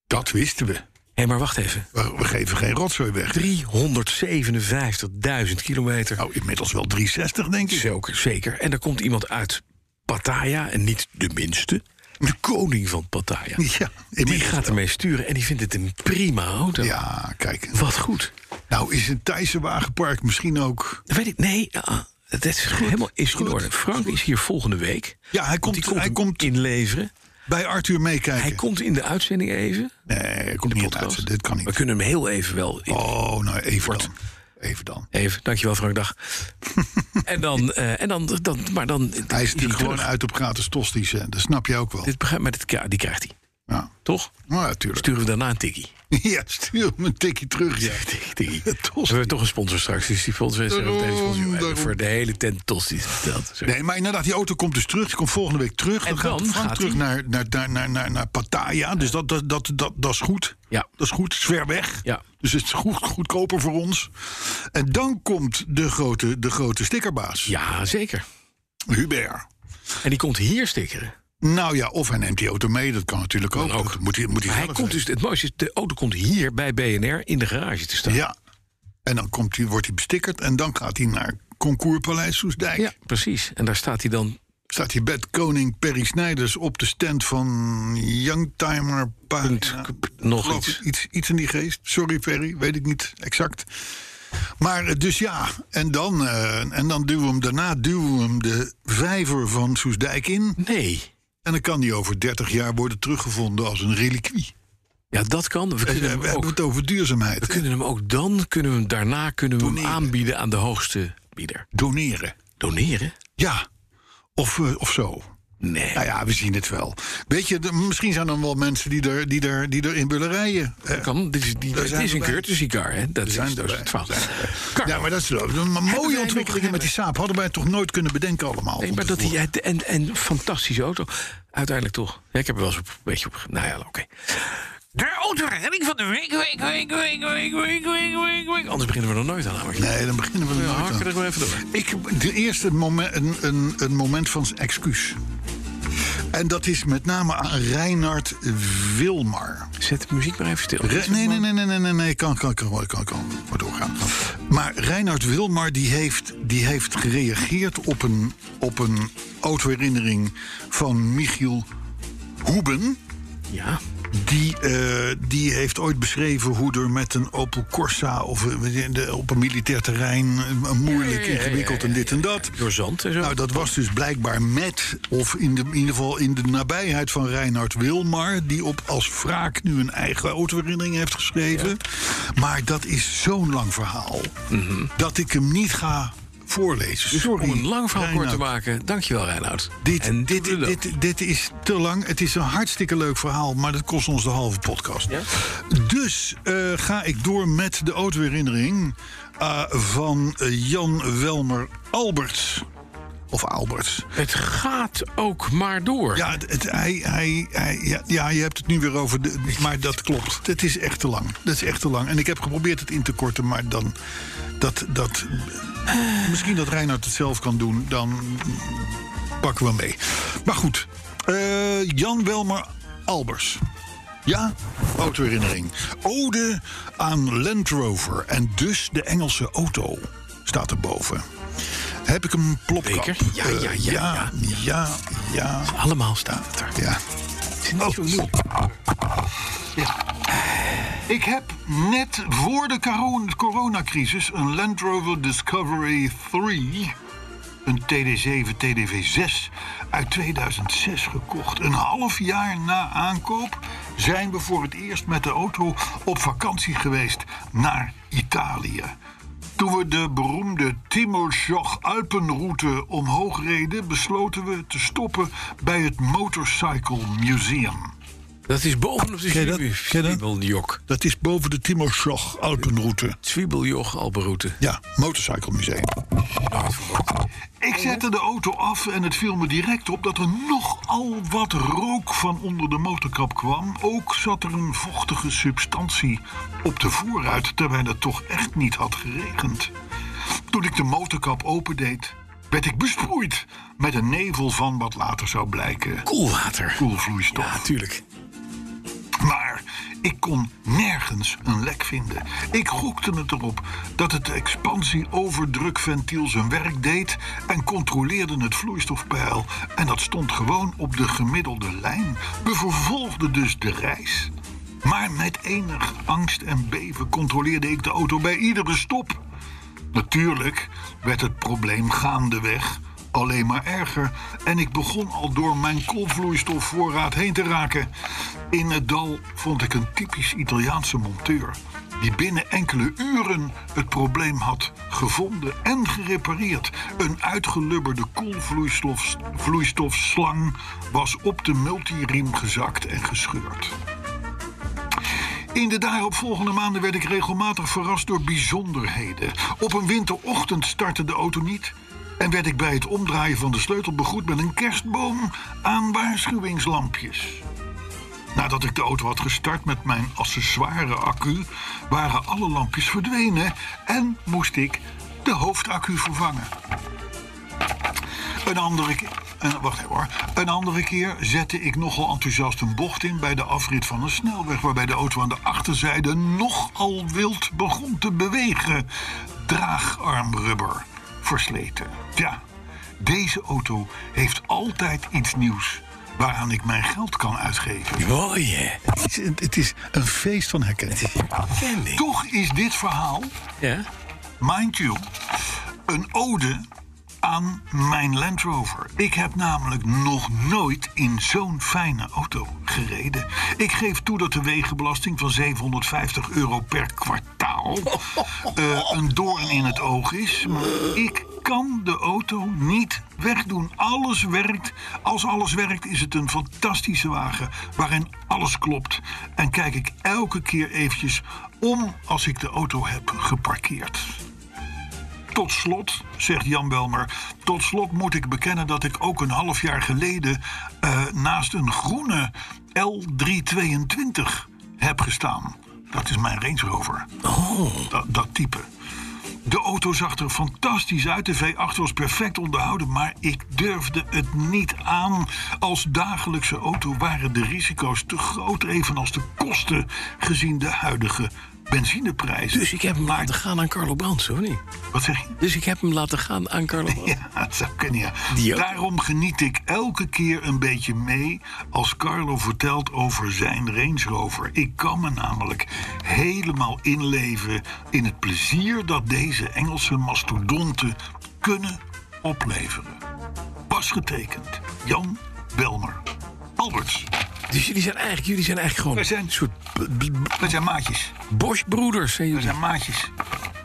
[SPEAKER 3] Dat wisten we.
[SPEAKER 2] Hé, maar wacht even.
[SPEAKER 3] We, we geven geen rotzooi weg.
[SPEAKER 2] 357.000 kilometer.
[SPEAKER 3] Nou, inmiddels wel 360, denk ik.
[SPEAKER 2] Zeker, zeker. En daar komt iemand uit Pattaya, en niet de minste, de koning van Pattaya. Die
[SPEAKER 3] Ja, inmiddels
[SPEAKER 2] gaat
[SPEAKER 3] wel.
[SPEAKER 2] ermee sturen en die vindt het een prima auto.
[SPEAKER 3] Ja, kijk.
[SPEAKER 2] Wat goed.
[SPEAKER 3] Nou, is het Thaise wagenpark misschien ook...
[SPEAKER 2] Dat weet ik. Nee, ah, het is helemaal is in
[SPEAKER 3] goed,
[SPEAKER 2] orde. Frank
[SPEAKER 3] goed.
[SPEAKER 2] is hier volgende week.
[SPEAKER 3] Ja, hij
[SPEAKER 2] Want
[SPEAKER 3] komt,
[SPEAKER 2] die komt
[SPEAKER 3] hij
[SPEAKER 2] hem
[SPEAKER 3] komt
[SPEAKER 2] inleveren.
[SPEAKER 3] bij Arthur meekijken.
[SPEAKER 2] Hij komt in de uitzending even.
[SPEAKER 3] nee, hij
[SPEAKER 2] De
[SPEAKER 3] komt niet
[SPEAKER 2] podcast.
[SPEAKER 3] uit. Dit kan
[SPEAKER 2] We
[SPEAKER 3] niet.
[SPEAKER 2] kunnen hem heel even wel. in-
[SPEAKER 3] Oh, nou, even
[SPEAKER 2] Kort.
[SPEAKER 3] dan. Even dan.
[SPEAKER 2] Even, dankjewel Frank, dag. en dan, eh, en dan, dan, maar dan...
[SPEAKER 3] Hij is natuurlijk gewoon
[SPEAKER 2] terug.
[SPEAKER 3] uit op gratis tosties. hè. Dat snap je ook wel.
[SPEAKER 2] Dit begrijp, maar dit, ja, die krijgt hij,
[SPEAKER 3] Ja,
[SPEAKER 2] toch?
[SPEAKER 3] maar natuurlijk.
[SPEAKER 2] Sturen we daarna een tikkie.
[SPEAKER 3] ja, stuur hem een tikje terug. Ja,
[SPEAKER 2] tikkie. We
[SPEAKER 3] Tosti.
[SPEAKER 2] hebben toch een sponsor straks, dus die sponsor is er
[SPEAKER 3] Daarom,
[SPEAKER 2] meteen sponsor. We hebben
[SPEAKER 3] daarom.
[SPEAKER 2] Voor de hele tent tosties verteld. Zo.
[SPEAKER 3] Nee, maar inderdaad, die auto komt dus terug. Die komt volgende week terug.
[SPEAKER 2] En
[SPEAKER 3] Dan, gaat
[SPEAKER 2] dan
[SPEAKER 3] Frank
[SPEAKER 2] gaat
[SPEAKER 3] terug
[SPEAKER 2] hij-
[SPEAKER 3] naar, naar, naar, naar, naar, naar Pattaya. Dus dat, dat, dat, dat, dat is goed.
[SPEAKER 2] Ja.
[SPEAKER 3] Dat is goed. Het is ver weg.
[SPEAKER 2] Ja.
[SPEAKER 3] Dus het is goed, goedkoper voor ons. En dan komt de grote, de grote stickerbaas,
[SPEAKER 2] Ja, zeker.
[SPEAKER 3] Hubert.
[SPEAKER 2] En die komt hier stickeren.
[SPEAKER 3] Nou ja, of hij neemt die auto mee. Dat kan natuurlijk ook.
[SPEAKER 2] ook.
[SPEAKER 3] Dat moet hij, moet hij
[SPEAKER 2] Maar hij
[SPEAKER 3] zelf
[SPEAKER 2] komt dus, het mooiste is, de auto komt hier bij BNR in de garage te staan.
[SPEAKER 3] Ja. En dan komt hij, wordt hij bestikkerd en dan gaat hij naar Concourspaleis Soesdijk.
[SPEAKER 2] Ja, precies. En daar staat hij dan
[SPEAKER 3] Staat hij bed koning Perry Snijders op de stand van Youngtimer pagina.
[SPEAKER 2] nog
[SPEAKER 3] Geloof
[SPEAKER 2] iets.
[SPEAKER 3] ik, iets. Iets in die geest. Sorry Perry, weet ik niet exact. Maar eh, dus ja, en dan, eh, en dan duwen we hem daarna duwen we hem de vijver van Soesdijk in.
[SPEAKER 2] Nee.
[SPEAKER 3] En dan kan die over 30 jaar worden teruggevonden als een reliquie. Eh,
[SPEAKER 2] Ja, dat kan. We
[SPEAKER 3] We
[SPEAKER 2] kunnen, hem
[SPEAKER 3] hebben
[SPEAKER 2] ook,
[SPEAKER 3] het over
[SPEAKER 2] we
[SPEAKER 3] duurzaamheid.
[SPEAKER 2] kunnen hem ook dan, kunnen we hem daarna kunnen we hem
[SPEAKER 3] Doneren.
[SPEAKER 2] aanbieden aan de hoogste bieder.
[SPEAKER 3] Doneren.
[SPEAKER 2] Doneren?
[SPEAKER 3] Ja, of, eh, of zo.
[SPEAKER 2] Nee.
[SPEAKER 3] Nou ja, we zien het wel. Weet je, de- misschien zijn er wel mensen die er, die er, die er in willen rijden. Eh,
[SPEAKER 2] Dat kan. Dit is, die,
[SPEAKER 3] Daar
[SPEAKER 2] het
[SPEAKER 3] zijn
[SPEAKER 2] is
[SPEAKER 3] we
[SPEAKER 2] een
[SPEAKER 3] bij.
[SPEAKER 2] courtesy car, hè? Dat is,
[SPEAKER 3] zijn
[SPEAKER 2] dat
[SPEAKER 3] erbij.
[SPEAKER 2] is het verhaal. Car.
[SPEAKER 3] ja, maar dat is wel- een mooie
[SPEAKER 2] wij
[SPEAKER 3] ontwikkelingen met die saap. Hadden wij toch nooit kunnen bedenken allemaal.
[SPEAKER 2] Nee,
[SPEAKER 3] van
[SPEAKER 2] maar dat
[SPEAKER 3] tevoren.
[SPEAKER 2] die, en, en fantastische auto. Uiteindelijk toch. Ja, ik heb er wel eens op- een beetje op... ge- Nou ja, oké. De autoredding van de week, week, week, week, week, week, week, week, week. Anders beginnen we er nooit aan. namelijk.
[SPEAKER 3] Nee, dan beginnen we
[SPEAKER 2] We
[SPEAKER 3] er nooit
[SPEAKER 2] hakken
[SPEAKER 3] aan.
[SPEAKER 2] er gewoon even door.
[SPEAKER 3] Ik, de eerste moment, een, een, een moment van excuus. En dat is met name aan Reinhard Wilmar.
[SPEAKER 2] Zet de muziek maar even stil.
[SPEAKER 3] Re- nee, nee, nee, nee, nee, nee, nee, kan, kan, kan, kan, kan, maar doorgaan. Maar Reinhard Wilmar die heeft, die heeft gereageerd op een, op een autoherinnering van Michiel Hoeben.
[SPEAKER 2] Ja.
[SPEAKER 3] Die, eh, die heeft ooit beschreven hoe er met een Opel Corsa of eh, weet je, de- op een militair terrein eh, moeilijk,
[SPEAKER 2] Ja, ja, ja,
[SPEAKER 3] ingewikkeld en dit en dat.
[SPEAKER 2] Door zand en zo.
[SPEAKER 3] Nou, dat was dus blijkbaar met, of in, de, in ieder geval in de nabijheid van Reinhard Wilmar... die op als wraak nu een eigen autoherinnering heeft geschreven. Maar dat is zo'n lang verhaal dat ik hem niet ga voorlezen.
[SPEAKER 2] Mhm. Dus
[SPEAKER 3] Sorry,
[SPEAKER 2] om een lang verhaal kort te
[SPEAKER 3] Reinoud.
[SPEAKER 2] maken, dankjewel Reinoud.
[SPEAKER 3] Dit, dit,
[SPEAKER 2] doedeloe.
[SPEAKER 3] dit, dit is te lang. Het is een hartstikke leuk verhaal, maar dat kost ons de halve podcast.
[SPEAKER 2] Ja?
[SPEAKER 3] Dus eh, ga ik door met de autoherinnering eh, van eh, Jan Welmer Alberts. Of Alberts.
[SPEAKER 2] Het gaat ook maar door.
[SPEAKER 3] Ja, het, het- hij, hij, hij, ja, ja, je hebt het nu weer over. De, maar dat klopt. Het is echt te lang. Dat is echt te lang. En ik heb geprobeerd het in te korten, maar dan. Dat, dat, misschien dat Reinhard het zelf kan doen, dan pakken we hem mee. Maar goed, eh, Jan Welmer Albers. Ja, autoherinnering. Ode aan Land Rover en dus de Engelse auto staat erboven. Heb ik een plopkap?
[SPEAKER 2] Beker? Ja,
[SPEAKER 3] Eh,
[SPEAKER 2] ja, ja,
[SPEAKER 3] ja, ja, ja,
[SPEAKER 2] Allemaal staat het er.
[SPEAKER 3] ja.
[SPEAKER 2] Het is
[SPEAKER 3] Oh,
[SPEAKER 2] niet zo moeilijk.
[SPEAKER 3] Ik heb net voor de caro- coronacrisis een Land Rover Discovery 3, een TD7 TDV6 uit 2006 gekocht. Een half jaar na aankoop zijn we voor het eerst met de auto op vakantie geweest naar Italië. Toen we de beroemde Timosjoch Alpenroute omhoog reden, besloten we te stoppen bij het Motorcycle Museum.
[SPEAKER 2] Dat is bovenop de
[SPEAKER 3] Ken je dat?
[SPEAKER 2] zwiebel-
[SPEAKER 3] Ken je dat?
[SPEAKER 2] zwiebeljok.
[SPEAKER 3] Dat is boven de Timosjoch Alpenroute.
[SPEAKER 2] Zwiebeljok Alberoute.
[SPEAKER 3] Ja, motorcyclemuseum. Ik zette de auto af en het viel me direct op dat er nogal wat rook van onder de motorkap kwam. Ook zat er een vochtige substantie op de voorruit, terwijl het toch echt niet had geregend. Toen ik de motorkap opendeed, werd ik besproeid met een nevel van wat later zou blijken
[SPEAKER 2] Koelwater.
[SPEAKER 3] koelvloeistof.
[SPEAKER 2] Ja, tuurlijk.
[SPEAKER 3] Maar ik kon nergens een lek vinden. Ik gokte het erop dat het expansie-overdrukventiel zijn werk deed en controleerde het vloeistofpeil. En dat stond gewoon op de gemiddelde lijn. We vervolgden dus de reis. Maar met enig angst en beven controleerde ik de auto bij iedere stop. Natuurlijk werd het probleem gaandeweg alleen maar erger en ik begon al door mijn koolvloeistofvoorraad heen te raken. In het dal vond ik een typisch Italiaanse monteur die binnen enkele uren het probleem had gevonden en gerepareerd. Een uitgelubberde koelvloeistof- vloeistofslang was op de multiriem gezakt en gescheurd. In de daaropvolgende maanden werd ik regelmatig verrast door bijzonderheden. Op een winterochtend startte de auto niet. En werd ik bij het omdraaien van de sleutel begroet met een kerstboom aan waarschuwingslampjes. Nadat ik de auto had gestart met mijn accessoire accu, waren alle lampjes verdwenen en moest ik de hoofdaccu vervangen. Een andere keer. een- wacht even hoor. Een andere keer zette ik nogal enthousiast een bocht in bij de afrit van een snelweg. Waarbij de auto aan de achterzijde nogal wild begon te bewegen. Draagarmrubber versleten. Ja, deze auto heeft altijd iets nieuws waaraan ik mijn geld kan uitgeven.
[SPEAKER 2] Mooi, hè?
[SPEAKER 3] Het is, een feest van herkenning.
[SPEAKER 2] Fanny.
[SPEAKER 3] Toch is dit verhaal
[SPEAKER 2] Ja?
[SPEAKER 3] mind you, een ode aan mijn Land Rover. Ik heb namelijk nog nooit in zo'n fijne auto gereden. Ik geef toe dat de wegenbelasting van 750 euro per kwartaal eh, een doorn in het oog is. Maar ik kan de auto niet wegdoen. Alles werkt. Als alles werkt is het een fantastische wagen waarin alles klopt. En kijk ik elke keer eventjes om als ik de auto heb geparkeerd. Tot slot, zegt Jan Welmer, tot slot moet ik bekennen dat ik ook een half jaar geleden eh, naast een groene L322 heb gestaan. Dat is mijn Range Rover.
[SPEAKER 2] Oh.
[SPEAKER 3] Dat, dat type. De auto zag er fantastisch uit. De V8 was perfect onderhouden, maar ik durfde het niet aan. Als dagelijkse auto waren de risico's te groot, evenals de kosten gezien de huidige benzineprijzen.
[SPEAKER 2] Dus ik heb hem laten gaan aan Carlo Brands, hoor niet?
[SPEAKER 3] Wat zeg je?
[SPEAKER 2] Dus ik heb hem laten gaan aan Carlo Brands.
[SPEAKER 3] Ja, dat zou kunnen, ja.
[SPEAKER 2] Die ook.
[SPEAKER 3] Daarom geniet ik elke keer een beetje mee als Carlo vertelt over zijn Range Rover. Ik kan me namelijk helemaal inleven in het plezier dat deze Engelse mastodonten kunnen opleveren. Pas getekend, Jan Belmer. Alberts,
[SPEAKER 2] Dus jullie zijn eigenlijk, jullie zijn eigenlijk gewoon
[SPEAKER 3] Wij zijn-
[SPEAKER 2] een soort b- b-
[SPEAKER 3] we zijn maatjes.
[SPEAKER 2] Bosch-broeders. zijn
[SPEAKER 3] We
[SPEAKER 2] jullie.
[SPEAKER 3] zijn maatjes.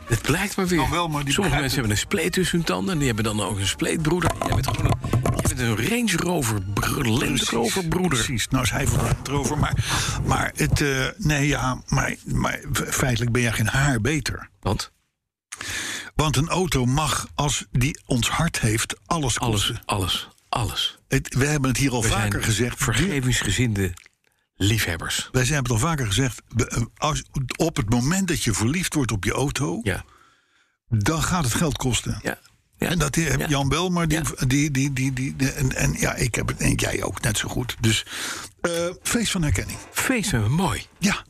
[SPEAKER 2] Het blijkt maar weer.
[SPEAKER 3] Kan wel, maar die
[SPEAKER 2] Sommige
[SPEAKER 3] begrijpen-
[SPEAKER 2] mensen hebben een spleet tussen hun tanden. En die hebben dan ook een spleetbroeder. Jij bent gewoon een, jij bent een Range Rover, br- Land Rover broeder.
[SPEAKER 3] Precies, nou is hij voor erover. Maar, maar, het, eh, nee, ja, maar, maar feitelijk ben jij geen haar beter.
[SPEAKER 2] Want
[SPEAKER 3] Want een auto mag, als die ons hart heeft, alles
[SPEAKER 2] alles,
[SPEAKER 3] kosten.
[SPEAKER 2] alles, alles.
[SPEAKER 3] Het- we hebben het hier al
[SPEAKER 2] We
[SPEAKER 3] vaker
[SPEAKER 2] zijn
[SPEAKER 3] gezegd.
[SPEAKER 2] Vergevingsgezinde liefhebbers.
[SPEAKER 3] Wij zijn het al vaker gezegd. we- eh, Als, op het moment dat je verliefd wordt op je auto,
[SPEAKER 2] Ja.
[SPEAKER 3] dan gaat het geld kosten.
[SPEAKER 2] ja. ja.
[SPEAKER 3] En dat heb
[SPEAKER 2] Ja.
[SPEAKER 3] Jan Belmer, die,
[SPEAKER 2] Ja.
[SPEAKER 3] die, die, die, die, die- en, en ja, ik heb het, en jij ook net zo goed. Dus eh, feest van herkenning.
[SPEAKER 2] Feest hebben we mooi.
[SPEAKER 3] Ja,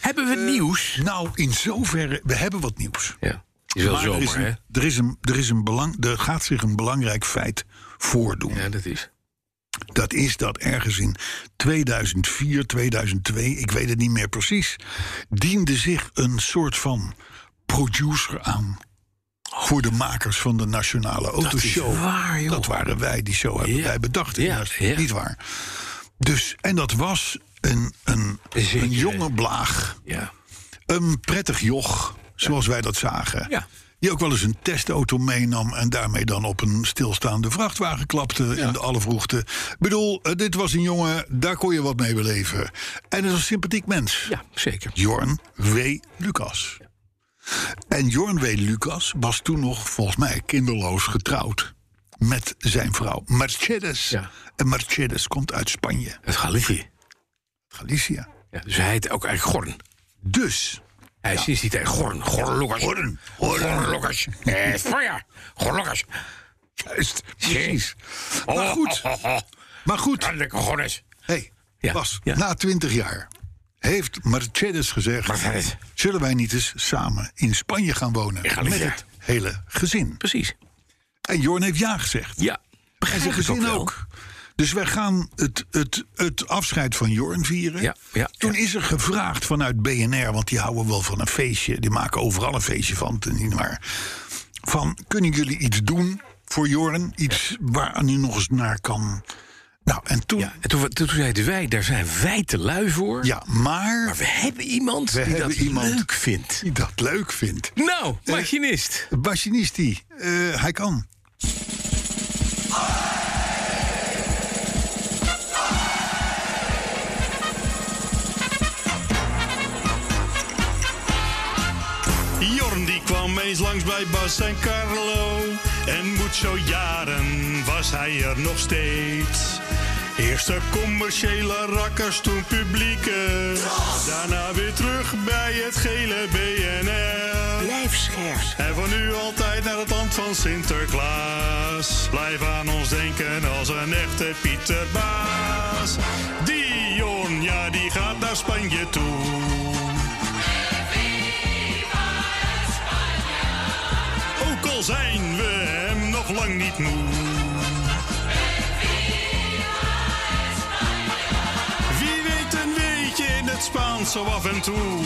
[SPEAKER 2] Hebben we nieuws?
[SPEAKER 3] nou in zoverre, we hebben wat nieuws.
[SPEAKER 2] Ja. Is wel
[SPEAKER 3] Maar er, is
[SPEAKER 2] zomer, hè?
[SPEAKER 3] een, er, is een, er, is een belang, er gaat zich een belangrijk feit voordoen.
[SPEAKER 2] Ja, dat is.
[SPEAKER 3] Dat is dat ergens in 2004, 2002, ik weet het niet meer precies, diende zich een soort van producer aan voor de makers van de Nationale Autoshow.
[SPEAKER 2] waar, joh.
[SPEAKER 3] Dat waren wij, die show hebben
[SPEAKER 2] Ja.
[SPEAKER 3] wij bedacht.
[SPEAKER 2] Ja,
[SPEAKER 3] juist,
[SPEAKER 2] ja.
[SPEAKER 3] Niet waar. Dus, en dat was een, een,
[SPEAKER 2] Zeker.
[SPEAKER 3] een jonge blaag,
[SPEAKER 2] Ja.
[SPEAKER 3] een prettig joch, zoals wij dat zagen.
[SPEAKER 2] Ja.
[SPEAKER 3] Die ook wel eens een testauto meenam en daarmee dan op een stilstaande vrachtwagen klapte in de alle vroegte. Ik bedoel, eh, dit was een jongen, daar kon je wat mee beleven. En het was een sympathiek mens.
[SPEAKER 2] ja, zeker.
[SPEAKER 3] Jorn W. Lucas. En Jorn W. Lucas was toen nog, volgens mij, kinderloos getrouwd. Met zijn vrouw Mercedes.
[SPEAKER 2] Ja.
[SPEAKER 3] En Mercedes komt uit Spanje,
[SPEAKER 2] Het Galicië.
[SPEAKER 3] Galicia.
[SPEAKER 2] Ja, dus hij heet ook eigenlijk Gorn.
[SPEAKER 3] Dus,
[SPEAKER 2] Hij is sinds die tijd Gorn. Gorn Lucas.
[SPEAKER 3] Jorn,
[SPEAKER 2] Gorn Lucas. Eh, Fire. Gorn Lucas.
[SPEAKER 3] juist, precies. Maar goed,
[SPEAKER 2] Oh, oh, oh.
[SPEAKER 3] maar goed.
[SPEAKER 2] Ja, Lekker Gorn is.
[SPEAKER 3] Hey,
[SPEAKER 2] Ja,
[SPEAKER 3] Bas,
[SPEAKER 2] ja.
[SPEAKER 3] na twintig jaar heeft Mercedes gezegd...
[SPEAKER 2] Mercedes.
[SPEAKER 3] zullen wij niet eens samen in Spanje gaan wonen?
[SPEAKER 2] In
[SPEAKER 3] met
[SPEAKER 2] Galicia.
[SPEAKER 3] het hele gezin.
[SPEAKER 2] Precies.
[SPEAKER 3] En Jorn heeft ja gezegd.
[SPEAKER 2] Ja.
[SPEAKER 3] En zijn
[SPEAKER 2] Begrijp ik ook
[SPEAKER 3] gezin
[SPEAKER 2] wel.
[SPEAKER 3] ook. Dus wij gaan het, het, het afscheid van Jorn vieren.
[SPEAKER 2] Ja, ja,
[SPEAKER 3] Toen
[SPEAKER 2] ja.
[SPEAKER 3] is er gevraagd vanuit BNR, want die houden wel van een feestje. Die maken overal een feestje van, te- niet maar. Van, kunnen jullie iets doen voor Jorn? Iets waar aan u nog eens naar kan. Nou, en toen...
[SPEAKER 2] Ja, en toen, toen zeiden wij, daar zijn wij te lui voor.
[SPEAKER 3] Ja, maar...
[SPEAKER 2] Maar we hebben iemand die
[SPEAKER 3] hebben
[SPEAKER 2] dat
[SPEAKER 3] iemand.
[SPEAKER 2] leuk vindt.
[SPEAKER 3] die dat leuk vindt.
[SPEAKER 2] Nou, machinist.
[SPEAKER 3] Bassinisti, eh, hij kan.
[SPEAKER 5] Jorn die kwam eens langs bij Bas en Carlo. En moet zo jaren was hij er nog steeds. Eerst de commerciële rakkers, toen publieke. Daarna weer terug bij het gele BNR.
[SPEAKER 6] Blijf scherp.
[SPEAKER 5] En van nu altijd naar het land van Sinterklaas. Blijf aan ons denken als een echte Pieterbaas. Dion, ja, die gaat naar Spanje toe. Ook al zijn we hem nog lang niet moe. Wie weet een weetje in het Spaans zo af en toe.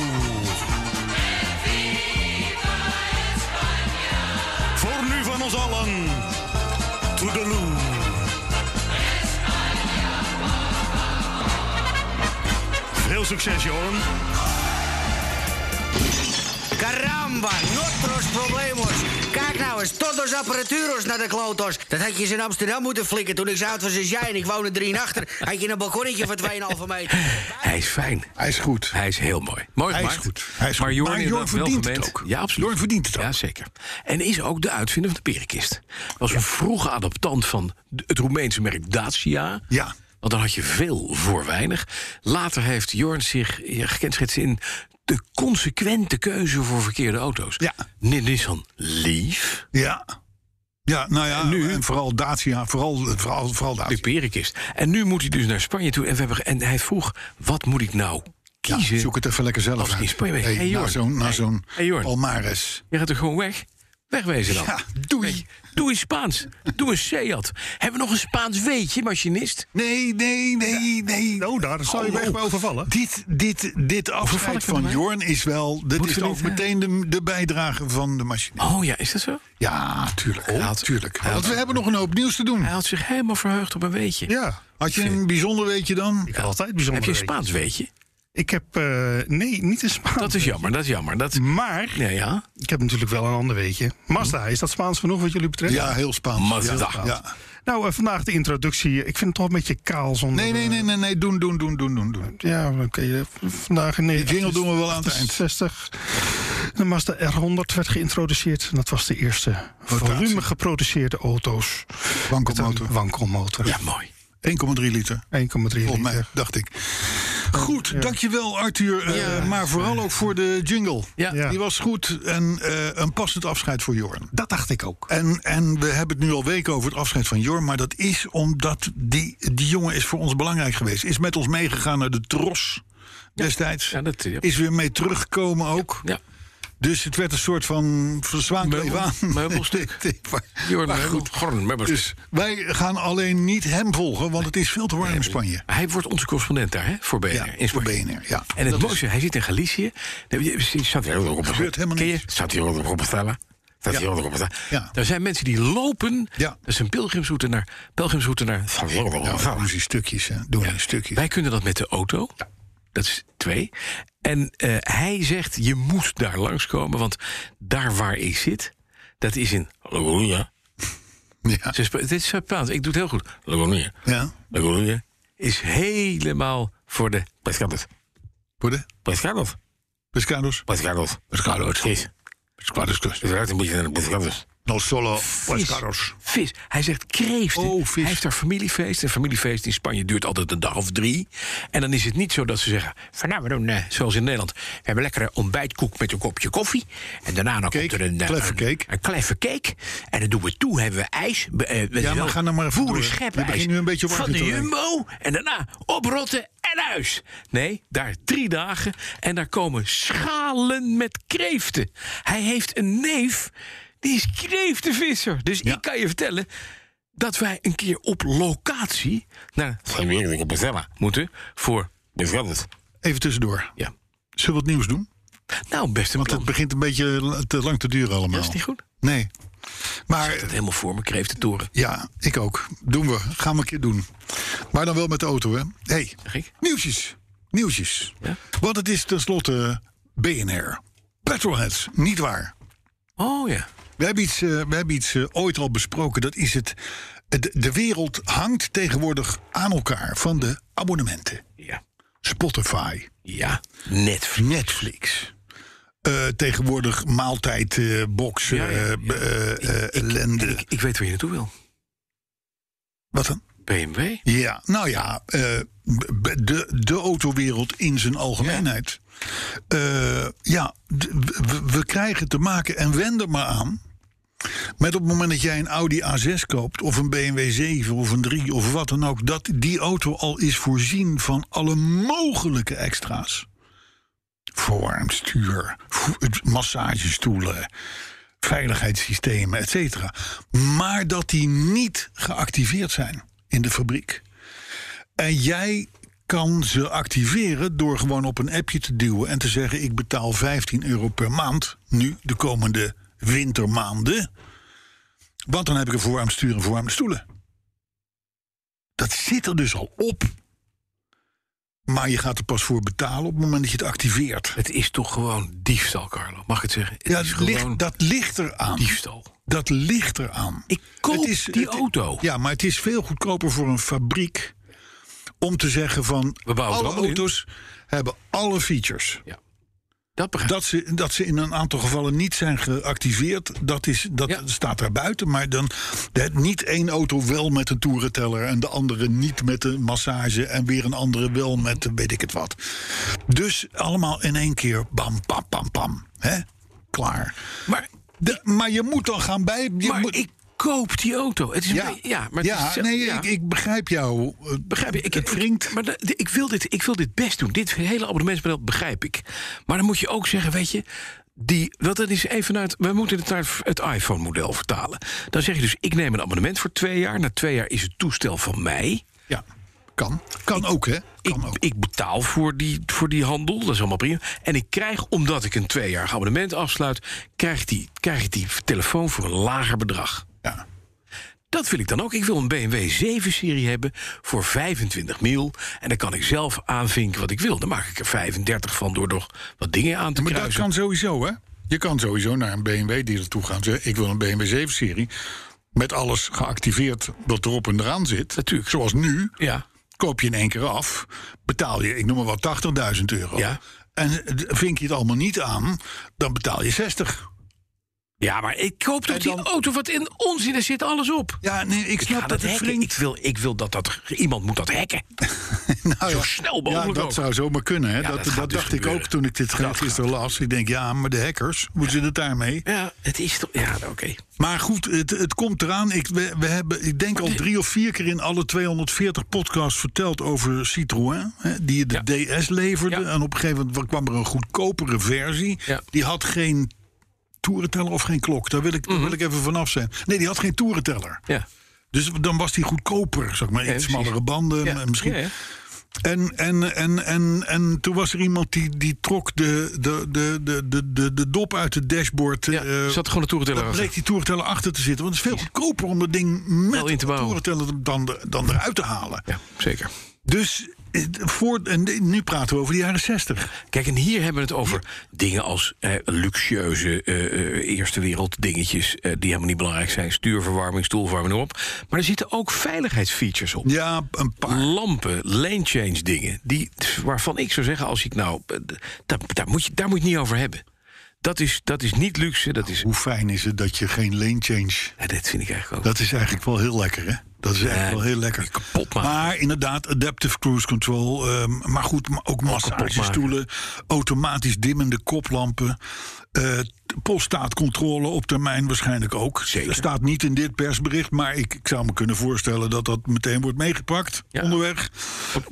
[SPEAKER 5] Voor nu van ons allen. Toedeloe. Veel succes, Joren.
[SPEAKER 6] Caramba, notros problemos. Kijk nou eens, todos apparaturos naar de klotos. Dat had je eens in Amsterdam moeten flikken toen ik zout was als jij en ik woonde drie achter. Had je een balkonnetje van 2,5 meter.
[SPEAKER 2] Hij is fijn.
[SPEAKER 3] Hij is goed.
[SPEAKER 2] Hij is heel mooi. Mooi
[SPEAKER 3] Hij is
[SPEAKER 2] gemaakt.
[SPEAKER 3] goed. Hij is
[SPEAKER 2] maar
[SPEAKER 3] goed.
[SPEAKER 2] Jorn,
[SPEAKER 3] Maar Jorn
[SPEAKER 2] inderdaad wel
[SPEAKER 3] verdient het
[SPEAKER 2] gemeend.
[SPEAKER 3] ook.
[SPEAKER 2] Ja, absoluut.
[SPEAKER 3] Jorn verdient het ook.
[SPEAKER 2] Ja, zeker. En is ook de uitvinder van de perenkist. Was een vroege adoptant van d- het Roemeense merk Dacia.
[SPEAKER 3] Ja.
[SPEAKER 2] Want dan had je veel voor weinig. Later heeft Jorn zich ja, gekenschetst in de consequente keuze voor verkeerde auto's.
[SPEAKER 3] Ja.
[SPEAKER 2] N- Nissan Leaf,
[SPEAKER 3] Ja. Ja, nou ja, en,
[SPEAKER 2] nu?
[SPEAKER 3] vooral Dacia, vooral, vooral, vooral
[SPEAKER 2] de
[SPEAKER 3] Dacia.
[SPEAKER 2] perenkist. En nu moet hij dus naar Spanje toe. En, we hebben, en hij vroeg, wat moet ik nou
[SPEAKER 3] Ja,
[SPEAKER 2] kiezen?
[SPEAKER 3] zoek het even lekker zelf
[SPEAKER 2] Als
[SPEAKER 3] uit.
[SPEAKER 2] die Spanje weg.
[SPEAKER 3] Hey,
[SPEAKER 2] Hey,
[SPEAKER 3] na
[SPEAKER 2] Jorn.
[SPEAKER 3] zo'n na
[SPEAKER 2] Hey.
[SPEAKER 3] zo'n
[SPEAKER 2] Hey, Jorn.
[SPEAKER 3] Palmares.
[SPEAKER 2] Je gaat er gewoon weg. Wegwezen dan.
[SPEAKER 3] Ja, doei.
[SPEAKER 2] Weg. Doe eens Spaans. Doe eens Seat. Hebben we nog een Spaans weetje, machinist?
[SPEAKER 3] Nee, nee, nee, nee.
[SPEAKER 4] Nou, daar zal je
[SPEAKER 3] Oh,
[SPEAKER 4] weg
[SPEAKER 3] oh.
[SPEAKER 4] bij overvallen.
[SPEAKER 3] Dit, dit, dit
[SPEAKER 2] Overval ik
[SPEAKER 3] afscheid
[SPEAKER 2] me
[SPEAKER 3] van
[SPEAKER 2] erbij?
[SPEAKER 3] Jorn is wel... Dat
[SPEAKER 2] Moeten
[SPEAKER 3] is
[SPEAKER 2] we
[SPEAKER 3] ook
[SPEAKER 2] dit, hè?
[SPEAKER 3] meteen de, de bijdrage van de machine.
[SPEAKER 2] Oh ja, is dat zo?
[SPEAKER 3] Ja, tuurlijk.
[SPEAKER 2] had-
[SPEAKER 3] tuurlijk.
[SPEAKER 2] hij
[SPEAKER 3] Want
[SPEAKER 2] had-
[SPEAKER 3] we hebben nog een hoop nieuws te doen.
[SPEAKER 2] Hij had zich helemaal verheugd op een weetje.
[SPEAKER 3] Ja. Had je een bijzonder weetje dan?
[SPEAKER 4] Ik had altijd
[SPEAKER 2] Heb
[SPEAKER 4] bijzonder.
[SPEAKER 2] je een Spaans weetje?
[SPEAKER 4] Ik heb, eh, nee, niet een Spaans.
[SPEAKER 2] Dat is jammer, dat is jammer. Dat...
[SPEAKER 4] Maar,
[SPEAKER 2] Nee, ja.
[SPEAKER 4] ik heb natuurlijk wel een ander weetje. Mazda, is dat Spaans genoeg wat jullie betreft?
[SPEAKER 3] Ja, heel Spaans.
[SPEAKER 2] Mazda.
[SPEAKER 3] Ja, ja.
[SPEAKER 4] Nou, eh, vandaag de introductie. Ik vind het toch een beetje kaal zonder...
[SPEAKER 3] Nee, nee, nee, nee, nee. Doen, doen, doen, doen, doen, doen.
[SPEAKER 4] Ja, oké. eh, v- vandaag in
[SPEAKER 3] Die jingle doen we wel aan het eind.
[SPEAKER 4] 60. De Mazda R100 werd geïntroduceerd. En dat was de eerste
[SPEAKER 3] Rotatie.
[SPEAKER 4] volume geproduceerde auto's.
[SPEAKER 3] Wankelmotor.
[SPEAKER 4] Met een wankelmotor.
[SPEAKER 2] Ja, mooi.
[SPEAKER 3] 1,3 liter.
[SPEAKER 4] 1,3
[SPEAKER 3] Volgens mij,
[SPEAKER 4] liter.
[SPEAKER 3] dacht ik. Goed, dankjewel Arthur. eh, maar vooral ook voor de jingle.
[SPEAKER 2] Ja.
[SPEAKER 4] Ja.
[SPEAKER 3] Die was goed en eh, een passend afscheid voor Jorn.
[SPEAKER 4] Dat dacht ik ook.
[SPEAKER 3] En, en we hebben het nu al weken over het afscheid van Jorn. Maar dat is omdat die, die jongen is voor ons belangrijk geweest. Is met ons meegegaan naar de tros destijds.
[SPEAKER 2] ja, dat- ja.
[SPEAKER 3] Is weer mee teruggekomen ook.
[SPEAKER 2] Ja.
[SPEAKER 3] Dus het werd een soort van verzwaangd
[SPEAKER 2] Meubel-
[SPEAKER 3] aan.
[SPEAKER 2] meubelstuk.
[SPEAKER 3] maar,
[SPEAKER 2] Jorn
[SPEAKER 3] maar
[SPEAKER 2] Meubel-
[SPEAKER 3] goed.
[SPEAKER 2] Jorn Meubelstuk.
[SPEAKER 3] Dus wij gaan alleen niet hem volgen, want het is veel te warm in Spanje.
[SPEAKER 2] Hij wordt onze correspondent daar, hè? Voor BNR.
[SPEAKER 3] Ja,
[SPEAKER 2] in Spanje.
[SPEAKER 3] voor BNR, ja.
[SPEAKER 2] En het mooiste, hij zit in Galicië. Staat hier ook op
[SPEAKER 3] gebeurt helemaal
[SPEAKER 2] Ken je?
[SPEAKER 3] niks.
[SPEAKER 2] Staat hier ook op Stella. Staat hier ook op Stella.
[SPEAKER 3] Ja.
[SPEAKER 2] Er zijn mensen die lopen.
[SPEAKER 3] Ja.
[SPEAKER 2] Dat is een pilgrimsroute naar. Pelgrimsroute naar.
[SPEAKER 3] Nou, doen ze in stukjes, hè. Doen ze in stukjes.
[SPEAKER 2] Wij kunnen dat met de auto. Dat is twee. En eh, hij zegt, je moet daar langskomen, want daar waar ik zit, dat is in La Coruña.
[SPEAKER 3] Ja.
[SPEAKER 2] Ze sp- Dit is Spaans, ik doe het heel goed. La Coruña.
[SPEAKER 3] ja.
[SPEAKER 2] La Coruña is helemaal voor de pescaders.
[SPEAKER 3] Voor de
[SPEAKER 2] Pescados.
[SPEAKER 3] pescados.
[SPEAKER 2] Pescados.
[SPEAKER 3] Pescados.
[SPEAKER 2] Vis.
[SPEAKER 3] Pescados.
[SPEAKER 2] Het ruikt een beetje naar de pescados.
[SPEAKER 3] No solo
[SPEAKER 2] Vis.
[SPEAKER 3] pescados.
[SPEAKER 2] Vis. Hij zegt kreeft.
[SPEAKER 3] Oh, vis.
[SPEAKER 2] Hij heeft daar familiefeest. Een familiefeest in Spanje duurt altijd een dag of drie. En dan is het niet zo dat ze zeggen... van nou, we doen, eh, zoals in Nederland... we hebben lekkere ontbijtkoek met een kopje koffie. En daarna nog
[SPEAKER 3] Cake,
[SPEAKER 2] komt er een... eh,
[SPEAKER 3] kleffe
[SPEAKER 2] een-
[SPEAKER 3] cake.
[SPEAKER 2] Een kleffe cake. En dan doen we toe, hebben we ijs. be- eh, weet
[SPEAKER 3] maar
[SPEAKER 2] je wel,
[SPEAKER 3] ga nou maar even
[SPEAKER 2] voeren
[SPEAKER 3] door.
[SPEAKER 2] scheppen
[SPEAKER 3] Je begint
[SPEAKER 2] ijs
[SPEAKER 3] nu een beetje warm
[SPEAKER 2] Van de
[SPEAKER 3] te worden.
[SPEAKER 2] jumbo. En daarna oprotten en huis. Nee, daar drie dagen. En daar komen schalen met kreeften. Hij heeft een neef... Die is kreeftenvisser. Dus
[SPEAKER 3] Ja.
[SPEAKER 2] ik kan je vertellen dat wij een keer op locatie naar Bezella moeten voor Bezella.
[SPEAKER 3] Even tussendoor.
[SPEAKER 2] Ja.
[SPEAKER 3] Zullen we wat nieuws doen?
[SPEAKER 2] Nou, best een
[SPEAKER 3] Want het
[SPEAKER 2] plan.
[SPEAKER 3] begint een beetje la- te lang te duren allemaal.
[SPEAKER 2] Dat is niet goed.
[SPEAKER 3] Nee.
[SPEAKER 2] Dat
[SPEAKER 3] Maar
[SPEAKER 2] helemaal voor me kreeftentoren.
[SPEAKER 3] ja, ik ook. Doen we. Gaan we een keer doen. Maar dan wel met de auto, hè? hey,
[SPEAKER 2] Zeg ik?
[SPEAKER 3] nieuwsjes. Nieuwsjes.
[SPEAKER 2] Ja?
[SPEAKER 3] Want het is tenslotte BNR. Petrolheads, niet waar.
[SPEAKER 2] Oh ja.
[SPEAKER 3] We hebben iets, eh, we hebben iets eh, ooit al besproken. Dat is het. De, de wereld hangt tegenwoordig aan elkaar van de abonnementen.
[SPEAKER 2] Ja.
[SPEAKER 3] Spotify,
[SPEAKER 2] Ja. Netflix.
[SPEAKER 3] Netflix. Eh, tegenwoordig eh, maaltijdboxen,
[SPEAKER 2] Ja, ja, ja.
[SPEAKER 3] eh, ellende.
[SPEAKER 2] Ik, ik weet waar je naartoe wil.
[SPEAKER 3] Wat dan?
[SPEAKER 2] BMW.
[SPEAKER 3] Ja, nou ja, eh, b- b- de, de autowereld in zijn algemeenheid. Eh, ja, d- w- w- we krijgen te maken, en wend er maar aan... met op het moment dat jij een Audi A6 koopt... of een BMW 7 of een 3 of wat dan ook... dat die auto al is voorzien van alle mogelijke extra's. Verwarmd stuur, vo- massagestoelen, veiligheidssystemen, et cetera. Maar dat die niet geactiveerd zijn in de fabriek. En jij kan ze activeren door gewoon op een appje te duwen en te zeggen: Ik betaal 15 euro per maand nu de komende wintermaanden. Want dan heb ik een verwarmd stuur en verwarmde stoelen. Dat zit er dus al op. Maar je gaat er pas voor betalen op het moment dat je het activeert.
[SPEAKER 2] Het is toch gewoon diefstal, Carlo. Mag ik het zeggen? Het
[SPEAKER 3] Ja,
[SPEAKER 2] is
[SPEAKER 3] dat,
[SPEAKER 2] gewoon
[SPEAKER 3] ligt, dat ligt eraan.
[SPEAKER 2] diefstal.
[SPEAKER 3] Dat ligt eraan.
[SPEAKER 2] Ik koop
[SPEAKER 3] Het is-
[SPEAKER 2] die
[SPEAKER 3] het-
[SPEAKER 2] auto.
[SPEAKER 3] Ja, maar het is veel goedkoper voor een fabriek om te zeggen van
[SPEAKER 2] We bouwen het
[SPEAKER 3] alle
[SPEAKER 2] allemaal in.
[SPEAKER 3] auto's hebben alle features.
[SPEAKER 2] Dat begrijp ik.
[SPEAKER 3] Dat ze, dat ze in een aantal gevallen niet zijn geactiveerd, dat, is, dat
[SPEAKER 2] Ja.
[SPEAKER 3] staat daar buiten. Maar dan de- niet één auto wel met een toerenteller en de andere niet met een massage en weer een andere wel met eh, weet ik het wat. Dus allemaal in één keer bam, pam, pam, pam. Hè? Klaar.
[SPEAKER 2] Maar,
[SPEAKER 3] De- maar je moet dan gaan bij. Je
[SPEAKER 2] maar
[SPEAKER 3] moet,
[SPEAKER 2] ik koop die auto. Het is een
[SPEAKER 3] ja,
[SPEAKER 2] beetje- ja, maar het
[SPEAKER 3] ja,
[SPEAKER 2] is zelf-
[SPEAKER 3] nee,
[SPEAKER 2] ja.
[SPEAKER 3] Ik, ik begrijp jou. eh,
[SPEAKER 2] Begrijp je? Ik,
[SPEAKER 3] het
[SPEAKER 2] ik-
[SPEAKER 3] wringt.
[SPEAKER 2] maar da- ik, wil dit, ik wil dit best doen. Dit hele abonnementsmodel begrijp ik. Maar dan moet je ook zeggen, weet je... Die, want dat is even naar het, we moeten het naar het iPhone-model vertalen. Dan zeg je dus, ik neem een abonnement voor twee jaar. Na twee jaar is het toestel van mij.
[SPEAKER 3] ja, kan. Kan ook, hè?
[SPEAKER 2] Ik,
[SPEAKER 3] Kan ook.
[SPEAKER 2] ik betaal voor die, voor die handel, dat is allemaal prima. En ik krijg, omdat ik een tweejarig abonnement afsluit... krijg ik die, krijg ik die telefoon voor een lager bedrag.
[SPEAKER 3] Ja.
[SPEAKER 2] Dat wil ik dan ook. Ik wil een BMW 7-serie hebben voor 25 mil. En dan kan ik zelf aanvinken wat ik wil. Dan maak ik er 35 van door nog wat dingen aan te
[SPEAKER 3] Maar dat
[SPEAKER 2] kruisen.
[SPEAKER 3] kan sowieso, hè? Je kan sowieso naar een BMW-dealer toe gaan en zeggen... ik wil een BMW 7-serie met alles geactiveerd wat erop en eraan zit.
[SPEAKER 2] Natuurlijk.
[SPEAKER 3] Zoals nu,
[SPEAKER 2] Ja,
[SPEAKER 3] koop je in één keer af, betaal je, ik noem maar wat, 80.000 euro.
[SPEAKER 2] Ja.
[SPEAKER 3] En eh, d- vink je het allemaal niet aan, dan betaal je 60.
[SPEAKER 2] ja maar ik koop toch
[SPEAKER 3] En
[SPEAKER 2] die
[SPEAKER 3] dan-
[SPEAKER 2] auto. Wat in onzin, er zit alles op.
[SPEAKER 3] Ja, nee, ik
[SPEAKER 2] Ik,
[SPEAKER 3] snap
[SPEAKER 2] ga dat
[SPEAKER 3] dat het
[SPEAKER 2] hacken.
[SPEAKER 3] wringt.
[SPEAKER 2] ik wil, ik wil dat, dat iemand moet dat hacken.
[SPEAKER 3] Nou,
[SPEAKER 2] Zo
[SPEAKER 3] ja.
[SPEAKER 2] snel
[SPEAKER 3] Ja,
[SPEAKER 2] mogelijk
[SPEAKER 3] dat
[SPEAKER 2] ook.
[SPEAKER 3] zou zomaar kunnen. Hè?
[SPEAKER 2] Ja,
[SPEAKER 3] dat
[SPEAKER 2] dat
[SPEAKER 3] dat,
[SPEAKER 2] gaat dus
[SPEAKER 3] dacht ik
[SPEAKER 2] gebeuren.
[SPEAKER 3] ook toen ik dit
[SPEAKER 2] Dat
[SPEAKER 3] gisteren las. Ik denk, ja, maar de hackers, hoe zit het daarmee?
[SPEAKER 2] Ja, het is toch... Ja, oké.
[SPEAKER 3] Maar goed, het, het komt eraan. Ik, we, we hebben, ik denk al drie of vier keer in alle 240 podcasts verteld over Citroën. Hè, die je de DS leverde.
[SPEAKER 2] Ja.
[SPEAKER 3] En op een gegeven moment kwam er een goedkopere versie.
[SPEAKER 2] Ja.
[SPEAKER 3] Die had geen toerenteller of geen klok? Daar wil ik, daar
[SPEAKER 2] Mhm.
[SPEAKER 3] wil ik even vanaf zijn. Nee, die had geen toerenteller.
[SPEAKER 2] Ja.
[SPEAKER 3] Dus dan was die goedkoper, zeg maar.
[SPEAKER 2] Ja,
[SPEAKER 3] Iets
[SPEAKER 2] precies.
[SPEAKER 3] smallere banden
[SPEAKER 2] Ja.
[SPEAKER 3] eh, misschien.
[SPEAKER 2] Ja, ja.
[SPEAKER 3] En, en, en, en, en toen was er iemand die, die trok de, de, de, de, de, de, de dop uit het dashboard.
[SPEAKER 2] Ja,
[SPEAKER 3] eh,
[SPEAKER 2] zat gewoon de toerenteller
[SPEAKER 3] Dan
[SPEAKER 2] achter.
[SPEAKER 3] bleek die toerenteller achter te zitten. Want het is veel goedkoper om dat ding met
[SPEAKER 2] Wel in te
[SPEAKER 3] de
[SPEAKER 2] bouwen.
[SPEAKER 3] toerenteller dan, de- dan eruit te halen.
[SPEAKER 2] Ja, zeker.
[SPEAKER 3] Dus eh, voor, en nu praten we over de jaren 60.
[SPEAKER 2] Kijk, en hier hebben we het over dingen als eh, luxueuze eh, eh, eerste wereld dingetjes... eh, die helemaal niet belangrijk zijn. Stuurverwarming, stoelverwarming, noem op. Maar er zitten ook veiligheidsfeatures op.
[SPEAKER 3] Ja, een paar.
[SPEAKER 2] Lampen, lane change dingen. Die, waarvan ik zou zeggen, als ik nou... eh, d- Daar, daar, moet, je, daar moet je het niet over hebben. Dat is, dat is niet luxe, dat is...
[SPEAKER 3] Hoe fijn is het dat je geen lane change...
[SPEAKER 2] Ja, dit vind ik eigenlijk ook.
[SPEAKER 3] Dat is eigenlijk wel heel lekker, hè? Dat is eigenlijk
[SPEAKER 2] Ja,
[SPEAKER 3] wel heel lekker.
[SPEAKER 2] die kapot maken.
[SPEAKER 3] Maar inderdaad, adaptive cruise control. ehm, maar goed, maar ook massagestoelen. Automatisch dimmende koplampen. eh poststaatcontrole op termijn waarschijnlijk ook.
[SPEAKER 2] Zeker.
[SPEAKER 3] staat niet in dit persbericht, maar ik, ik zou me kunnen voorstellen... dat dat meteen wordt meegepakt
[SPEAKER 2] Ja.
[SPEAKER 3] onderweg.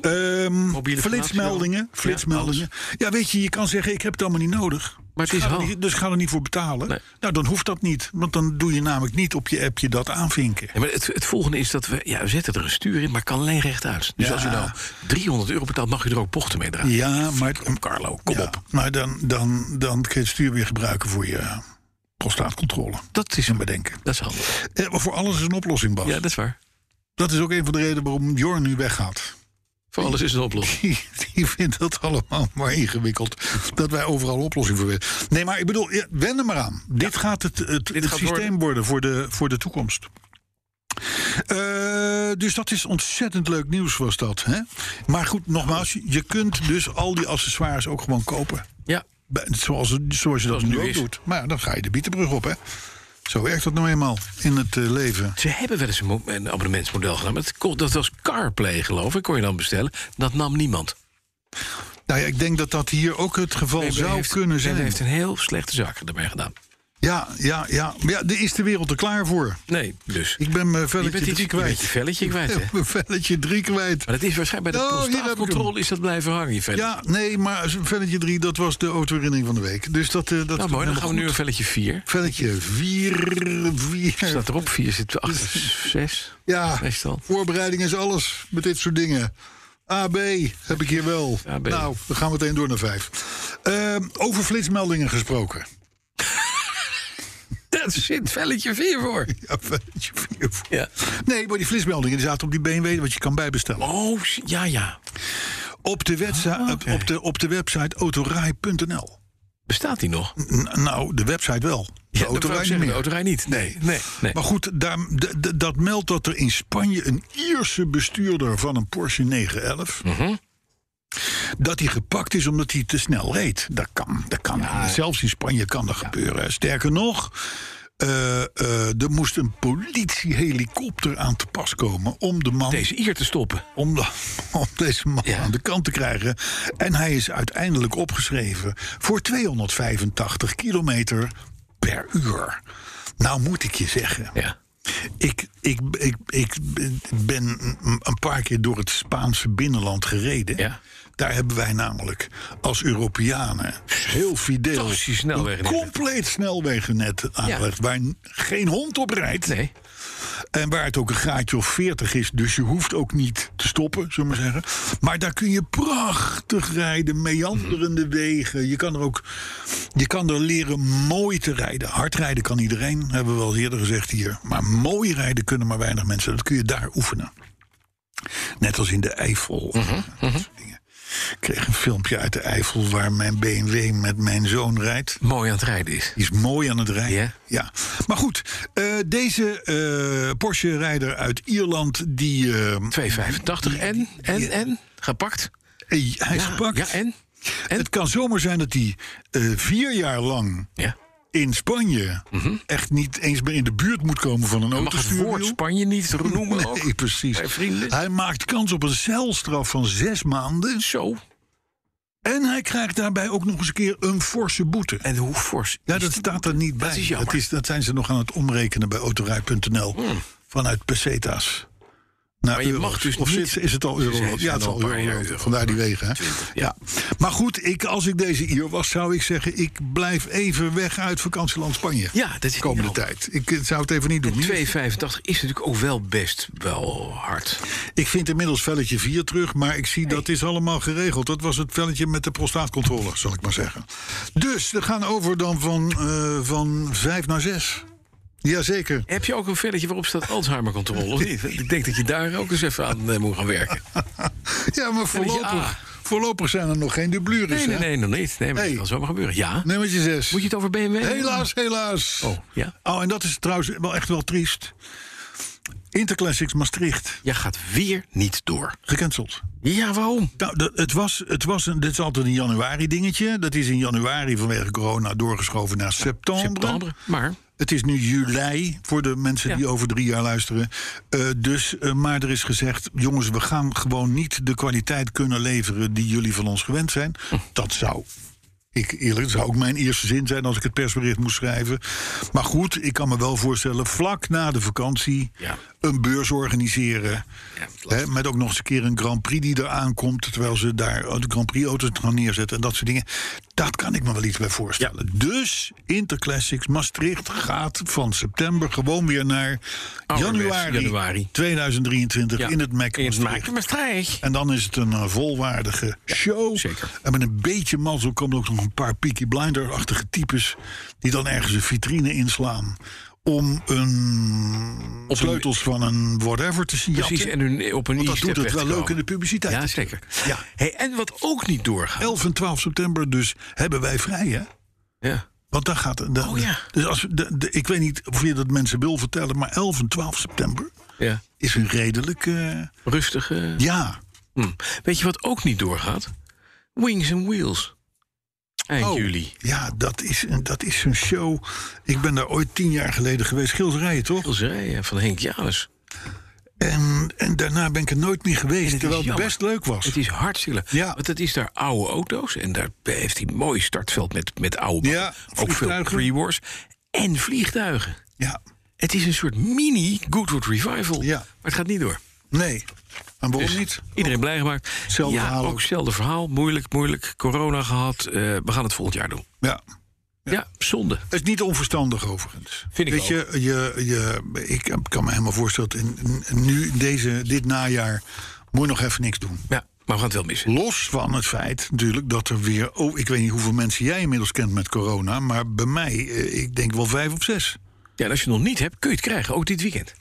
[SPEAKER 3] Ehm
[SPEAKER 2] Mobiele
[SPEAKER 3] flitsmeldingen.
[SPEAKER 2] informatie wel.
[SPEAKER 3] flitsmeldingen. Ja, weet je, je kan zeggen, ik heb het allemaal niet nodig.
[SPEAKER 2] Maar het is
[SPEAKER 3] Dus ga er
[SPEAKER 2] handig.
[SPEAKER 3] niet- dus ga er niet voor betalen.
[SPEAKER 2] Nee.
[SPEAKER 3] Nou, dan hoeft dat niet. Want dan doe je namelijk niet op je appje dat aanvinken.
[SPEAKER 2] Ja, maar het, het volgende is dat we... Ja, we zetten er een stuur in, maar kan alleen rechtuit. Dus
[SPEAKER 3] Ja.
[SPEAKER 2] als u nou 300 euro betaalt, mag u er ook bochten mee draaien.
[SPEAKER 3] Ja, maar...
[SPEAKER 2] Carlo, kom
[SPEAKER 3] Ja,
[SPEAKER 2] op.
[SPEAKER 3] Maar dan, dan, dan kun je het stuur weer gebruiken voor je eh, prostaatcontrole.
[SPEAKER 2] Dat is
[SPEAKER 3] En bedenken.
[SPEAKER 2] Dat is handig.
[SPEAKER 3] Eh, maar voor alles is een oplossing, Bas.
[SPEAKER 2] Ja, dat is waar.
[SPEAKER 3] Dat is ook een van de redenen waarom Jorn nu weggaat.
[SPEAKER 2] Voor alles is een oplossing.
[SPEAKER 3] Die, die vindt dat allemaal maar ingewikkeld. Dat wij overal een oplossing voor weten. Nee, maar ik bedoel, ja, wend er maar aan. Dit gaat het, het, het
[SPEAKER 2] gaat
[SPEAKER 3] systeem
[SPEAKER 2] worden.
[SPEAKER 3] worden, voor, de, voor de toekomst. Eh, dus dat is ontzettend leuk nieuws was dat. Hè? Maar goed, nogmaals, je kunt dus al die accessoires ook gewoon kopen.
[SPEAKER 2] Ja,
[SPEAKER 3] Bij- Zoals, zoals je dat
[SPEAKER 2] Zoals
[SPEAKER 3] nu
[SPEAKER 2] nu
[SPEAKER 3] ook
[SPEAKER 2] is.
[SPEAKER 3] doet. Maar ja, dan ga je de bietenbrug op, hè? Zo werkt dat nou eenmaal in het eh, leven.
[SPEAKER 2] ze hebben wel eens een, mo- een abonnementsmodel gedaan. Maar het kon- dat was CarPlay, geloof ik. Kon je dan bestellen. Dat nam niemand.
[SPEAKER 3] Nou ja, ik denk dat dat hier ook het geval
[SPEAKER 2] Weber
[SPEAKER 3] zou
[SPEAKER 2] heeft-
[SPEAKER 3] kunnen
[SPEAKER 2] Weber
[SPEAKER 3] zijn.
[SPEAKER 2] heeft een heel slechte zaak erbij gedaan.
[SPEAKER 3] Ja, ja, ja. Maar ja, daar is de wereld er klaar voor.
[SPEAKER 2] Nee, dus.
[SPEAKER 3] Ik ben mijn
[SPEAKER 2] je
[SPEAKER 3] velletje
[SPEAKER 2] bent iets,
[SPEAKER 3] drie
[SPEAKER 2] je bent je
[SPEAKER 3] kwijt.
[SPEAKER 2] velletje kwijt, hè?
[SPEAKER 3] Ik ben Mijn velletje drie kwijt.
[SPEAKER 2] Maar dat is waarschijnlijk bij de
[SPEAKER 3] Oh, hier heb ik hem.
[SPEAKER 2] prostaatcontrole is dat blijven hangen, je velletje.
[SPEAKER 3] Ja, nee, maar zo'n velletje drie, dat was de autoherinnering van de week. Dus dat, eh, dat
[SPEAKER 2] nou
[SPEAKER 3] komt
[SPEAKER 2] mooi, dan gaan we nu
[SPEAKER 3] helemaal
[SPEAKER 2] een velletje 4.
[SPEAKER 3] goed. Velletje vier, vier.
[SPEAKER 2] Staat erop, 4 zit 8, 6.
[SPEAKER 3] Ja,
[SPEAKER 2] Meestal.
[SPEAKER 3] voorbereiding is alles met dit soort dingen. AB heb ik hier wel.
[SPEAKER 2] AB.
[SPEAKER 3] Nou, we gaan meteen door naar vijf. Ehm, over flitsmeldingen gesproken.
[SPEAKER 2] Daar zit velletje 4 voor.
[SPEAKER 3] Ja, velletje vier voor.
[SPEAKER 2] Ja.
[SPEAKER 3] Nee, maar die flitsmeldingen die zaten op die BMW, wat je kan bijbestellen.
[SPEAKER 2] Oh, s- ja, ja.
[SPEAKER 3] Op de, websa-
[SPEAKER 2] Ah, oké.
[SPEAKER 3] op de, op de website autorij.nl.
[SPEAKER 2] Bestaat die nog?
[SPEAKER 3] N- nou, de website wel. De
[SPEAKER 2] Ja, dat wou ik
[SPEAKER 3] autorij niet
[SPEAKER 2] zeggen,
[SPEAKER 3] meer.
[SPEAKER 2] De autorij niet. Nee, nee. nee.
[SPEAKER 3] Maar goed, daar, d- d- dat meldt dat er in Spanje een Ierse bestuurder van een Porsche 911.
[SPEAKER 2] Mhm.
[SPEAKER 3] Dat hij gepakt is omdat hij te snel reed. Dat kan. Dat kan. Zelfs in Spanje kan dat gebeuren. Sterker nog, eh, eh, er moest een politiehelikopter aan te pas komen om de man
[SPEAKER 2] Deze ier te stoppen.
[SPEAKER 3] om, de- om deze man
[SPEAKER 2] Ja.
[SPEAKER 3] aan de kant te krijgen. En hij is uiteindelijk opgeschreven voor 285 kilometer per uur. Nou moet ik je zeggen,
[SPEAKER 2] Ja.
[SPEAKER 3] ik, ik, ik, ik ben een paar keer door het Spaanse binnenland gereden.
[SPEAKER 2] Ja.
[SPEAKER 3] Daar hebben wij namelijk als Europeanen heel fideel
[SPEAKER 2] Fantastisch snelwegen.
[SPEAKER 3] een compleet snelwegennet aangelegd... waar geen hond op rijdt.
[SPEAKER 2] Nee.
[SPEAKER 3] En waar het ook een gaatje of 40 is, dus je hoeft ook niet te stoppen, zullen we maar zeggen. Maar daar kun je prachtig rijden, meanderende wegen. Je kan er ook je kan er leren mooi te rijden. Hard rijden kan iedereen, hebben we wel eerder gezegd hier. Maar mooi rijden kunnen maar weinig mensen. Dat kun je daar oefenen. Net als in de Eifel. Dat soort dingen. Ik kreeg een filmpje uit de Eifel waar mijn BMW met mijn zoon rijdt.
[SPEAKER 2] Mooi aan het rijden is.
[SPEAKER 3] Die is mooi aan het rijden.
[SPEAKER 2] Ja.
[SPEAKER 3] Ja. Maar goed, eh, deze eh, Porsche-rijder uit Ierland, die, eh,
[SPEAKER 2] 2,85 en, en, en, gepakt.
[SPEAKER 3] eh, hij is
[SPEAKER 2] Ja,
[SPEAKER 3] gepakt.
[SPEAKER 2] Ja, en? en?
[SPEAKER 3] Het kan zomaar zijn dat hij eh, vier jaar lang
[SPEAKER 2] Ja.
[SPEAKER 3] in Spanje
[SPEAKER 2] Mhm.
[SPEAKER 3] echt niet eens meer in de buurt moet komen van een
[SPEAKER 2] Je mag het
[SPEAKER 3] autostuurwiel.
[SPEAKER 2] woord Spanje niet noemen ook.
[SPEAKER 3] Nee, precies.
[SPEAKER 2] Bij vrienden.
[SPEAKER 3] Hij maakt kans op een celstraf van zes maanden.
[SPEAKER 2] Zo.
[SPEAKER 3] En hij krijgt daarbij ook nog eens een keer een forse boete.
[SPEAKER 2] En hoe fors.
[SPEAKER 3] Ja, dat staat er niet bij.
[SPEAKER 2] is jammer. Hmm.
[SPEAKER 3] dat, dat zijn ze nog aan het omrekenen bij autorij.nl. Vanuit peseta's. naar
[SPEAKER 2] Maar je
[SPEAKER 3] euro's.
[SPEAKER 2] mag dus
[SPEAKER 3] of
[SPEAKER 2] niet-
[SPEAKER 3] zit- is het al
[SPEAKER 2] Ze
[SPEAKER 3] euro?
[SPEAKER 2] zijn
[SPEAKER 3] Ja, het is
[SPEAKER 2] al
[SPEAKER 3] al
[SPEAKER 2] een paar
[SPEAKER 3] euro.
[SPEAKER 2] jaar euro.
[SPEAKER 3] Vandaar die wegen. Hè? ja. Maar goed, ik, als ik deze Ier was, zou ik zeggen: ik blijf even weg uit vakantieland Spanje.
[SPEAKER 2] Ja, dat is niet
[SPEAKER 3] komende
[SPEAKER 2] handig.
[SPEAKER 3] tijd. Ik eh, zou het even niet doen.
[SPEAKER 2] En 2,85 is natuurlijk ook wel best wel hard.
[SPEAKER 3] Ik vind inmiddels velletje 4 terug, maar ik zie dat is allemaal geregeld. Dat was het velletje met de prostaatcontrole, zal ik maar zeggen. Dus we gaan over dan van, eh, van 5 naar 6. Jazeker.
[SPEAKER 2] Heb je ook een velletje waarop staat Alzheimer-controle, of niet? Ik denk dat je daar ook eens even aan eh, moet gaan werken.
[SPEAKER 3] Ja, maar
[SPEAKER 2] A.
[SPEAKER 3] voorlopig, voorlopig zijn er nog geen dublures.
[SPEAKER 2] ah. Nee, nee,
[SPEAKER 3] hè?
[SPEAKER 2] nee, nog niet. Dus, eh, Nee, maar
[SPEAKER 3] Hey.
[SPEAKER 2] dat kan zomaar gebeuren. Ja?
[SPEAKER 3] Nummertje 6.
[SPEAKER 2] Moet je het over BMW hebben?
[SPEAKER 3] Helaas, helaas.
[SPEAKER 2] Oh, ja.
[SPEAKER 3] Oh, en dat is trouwens wel echt wel triest. Interclassics Maastricht,
[SPEAKER 2] Jij gaat weer niet door.
[SPEAKER 3] gecanceld.
[SPEAKER 2] Ja, waarom?
[SPEAKER 3] Nou, dat- het was, het was een, dit is altijd een januari dingetje. Dat is in januari vanwege corona doorgeschoven naar september.
[SPEAKER 2] September. Maar
[SPEAKER 3] Het is nu juli voor de mensen die over drie jaar luisteren. Eh, dus, eh, maar er is gezegd, jongens, we gaan gewoon niet de kwaliteit kunnen leveren die jullie van ons gewend zijn. Dat zou. Ik, eerlijk, dat zou ook mijn eerste zin zijn als ik het persbericht moest schrijven. Maar goed, ik kan me wel voorstellen, vlak na de vakantie
[SPEAKER 2] Ja.
[SPEAKER 3] een beurs organiseren. Hè, met ook nog eens een keer een Grand Prix die eraan komt. Terwijl ze daar de Grand Prix auto's gaan neerzetten en dat soort dingen. Dat kan ik me wel iets bij voorstellen. Dus Interclassics Maastricht gaat van september gewoon weer naar
[SPEAKER 2] Ouderwets,
[SPEAKER 3] januari,
[SPEAKER 2] januari.
[SPEAKER 3] 2023
[SPEAKER 2] Ja,
[SPEAKER 3] in het MEC
[SPEAKER 2] in het
[SPEAKER 3] Maastricht.
[SPEAKER 2] Mac Maastricht.
[SPEAKER 3] En dan is het een eh, volwaardige show.
[SPEAKER 2] zeker.
[SPEAKER 3] En met een beetje mazzel komen er ook nog een paar Peaky Blinder-achtige types... die dan ergens een vitrine inslaan om een
[SPEAKER 2] Op
[SPEAKER 3] sleutels van een whatever te zien
[SPEAKER 2] Precies, en
[SPEAKER 3] jatten.
[SPEAKER 2] hun op een
[SPEAKER 3] Want dat
[SPEAKER 2] e-step
[SPEAKER 3] doet het wel
[SPEAKER 2] wegkomen.
[SPEAKER 3] leuk in de publiciteit.
[SPEAKER 2] Ja, zeker.
[SPEAKER 3] Ja.
[SPEAKER 2] Hey, en wat ook niet doorgaat.
[SPEAKER 3] 11 en 12 september dus hebben wij vrij, hè?
[SPEAKER 2] Ja.
[SPEAKER 3] Want daar gaat... de-
[SPEAKER 2] Oh, ja.
[SPEAKER 3] Dus als, de, de- ik weet niet of je dat mensen wil vertellen... maar 11 en 12 september
[SPEAKER 2] ja.
[SPEAKER 3] is een redelijk... eh,
[SPEAKER 2] Rustig. eh,
[SPEAKER 3] ja,
[SPEAKER 2] hm. Weet je wat ook niet doorgaat? Wings and Wheels. Eind
[SPEAKER 3] Oh,
[SPEAKER 2] juli.
[SPEAKER 3] Ja, dat is, een- dat is een show. Ik ben daar ooit tien jaar geleden geweest. Schilderijen, toch?
[SPEAKER 2] Schilderijen van Henk Janus.
[SPEAKER 3] En, en daarna ben ik er nooit meer geweest.
[SPEAKER 2] is
[SPEAKER 3] terwijl het
[SPEAKER 2] jammer.
[SPEAKER 3] best leuk was.
[SPEAKER 2] Het is hartstikke leuk.
[SPEAKER 3] Ja.
[SPEAKER 2] Want het is daar oude auto's. En daar heeft hij een mooi startveld met, met oude
[SPEAKER 3] Ja,
[SPEAKER 2] bakken. Ook veel
[SPEAKER 3] vliegtuigen.
[SPEAKER 2] pre-wars. En vliegtuigen.
[SPEAKER 3] Ja,
[SPEAKER 2] Het is een soort mini Goodwood Revival.
[SPEAKER 3] Ja.
[SPEAKER 2] Maar het gaat niet door.
[SPEAKER 3] nee. En
[SPEAKER 2] Dus-
[SPEAKER 3] waarom niet?
[SPEAKER 2] Iedereen blij gemaakt.
[SPEAKER 3] Hetzelfde
[SPEAKER 2] ja,
[SPEAKER 3] verhaal
[SPEAKER 2] ook
[SPEAKER 3] ook.
[SPEAKER 2] hetzelfde verhaal. Moeilijk, moeilijk. Corona gehad. Eh, we gaan het volgend jaar doen.
[SPEAKER 3] Ja.
[SPEAKER 2] Ja, zonde.
[SPEAKER 3] Het is niet onverstandig overigens.
[SPEAKER 2] Vind ik
[SPEAKER 3] Weet je, je, je, ik kan me helemaal voorstellen... dat in- in- nu, deze, dit najaar, moet je nog even niks doen.
[SPEAKER 2] Ja, maar we gaan het wel missen.
[SPEAKER 3] Los van het feit natuurlijk dat er weer... Oh, ik weet niet hoeveel mensen jij inmiddels kent met corona... maar bij mij, eh, ik denk wel vijf of zes.
[SPEAKER 2] Ja, en als je het nog niet hebt, kun je het krijgen. Ook dit weekend.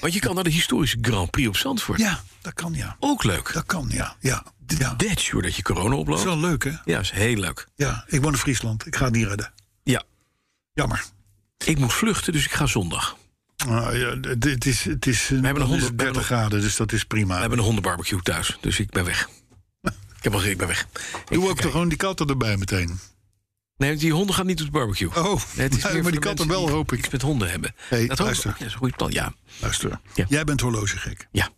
[SPEAKER 2] Want je kan naar de historische Grand Prix op Zandvoort.
[SPEAKER 3] Ja, dat kan ja.
[SPEAKER 2] Ook leuk.
[SPEAKER 3] Dat kan, ja. ja. ja.
[SPEAKER 2] Dead sure dat je corona
[SPEAKER 3] is
[SPEAKER 2] oploopt.
[SPEAKER 3] wel leuk, hè?
[SPEAKER 2] Ja, is heel leuk.
[SPEAKER 3] Ja, ik woon in Friesland. Ik ga het niet redden.
[SPEAKER 2] Ja.
[SPEAKER 3] Jammer.
[SPEAKER 2] Ik moet vluchten, dus ik ga zondag.
[SPEAKER 3] Ah, ja, d- dit is, het is, we
[SPEAKER 2] hebben nog honderd- we
[SPEAKER 3] 30
[SPEAKER 2] hebben
[SPEAKER 3] graden, dus dat is prima.
[SPEAKER 2] We hebben een hondenbarbecue thuis, dus ik ben weg. Ik heb al gezegd, ik ben weg.
[SPEAKER 3] Doe ook toch gewoon die katten erbij meteen.
[SPEAKER 2] Nee, die honden gaan niet op de barbecue.
[SPEAKER 3] Oh,
[SPEAKER 2] Nee,
[SPEAKER 3] nee,
[SPEAKER 2] meer voor
[SPEAKER 3] maar die
[SPEAKER 2] de
[SPEAKER 3] katten
[SPEAKER 2] mensen
[SPEAKER 3] wel,
[SPEAKER 2] die
[SPEAKER 3] hoop ik.
[SPEAKER 2] iets met honden hebben.
[SPEAKER 3] Hey,
[SPEAKER 2] dat, hoop ik.
[SPEAKER 3] luister.
[SPEAKER 2] Ja, dat is een goed plan, ja.
[SPEAKER 3] Luister,
[SPEAKER 2] Ja.
[SPEAKER 3] jij bent horlogegek.
[SPEAKER 2] Ja,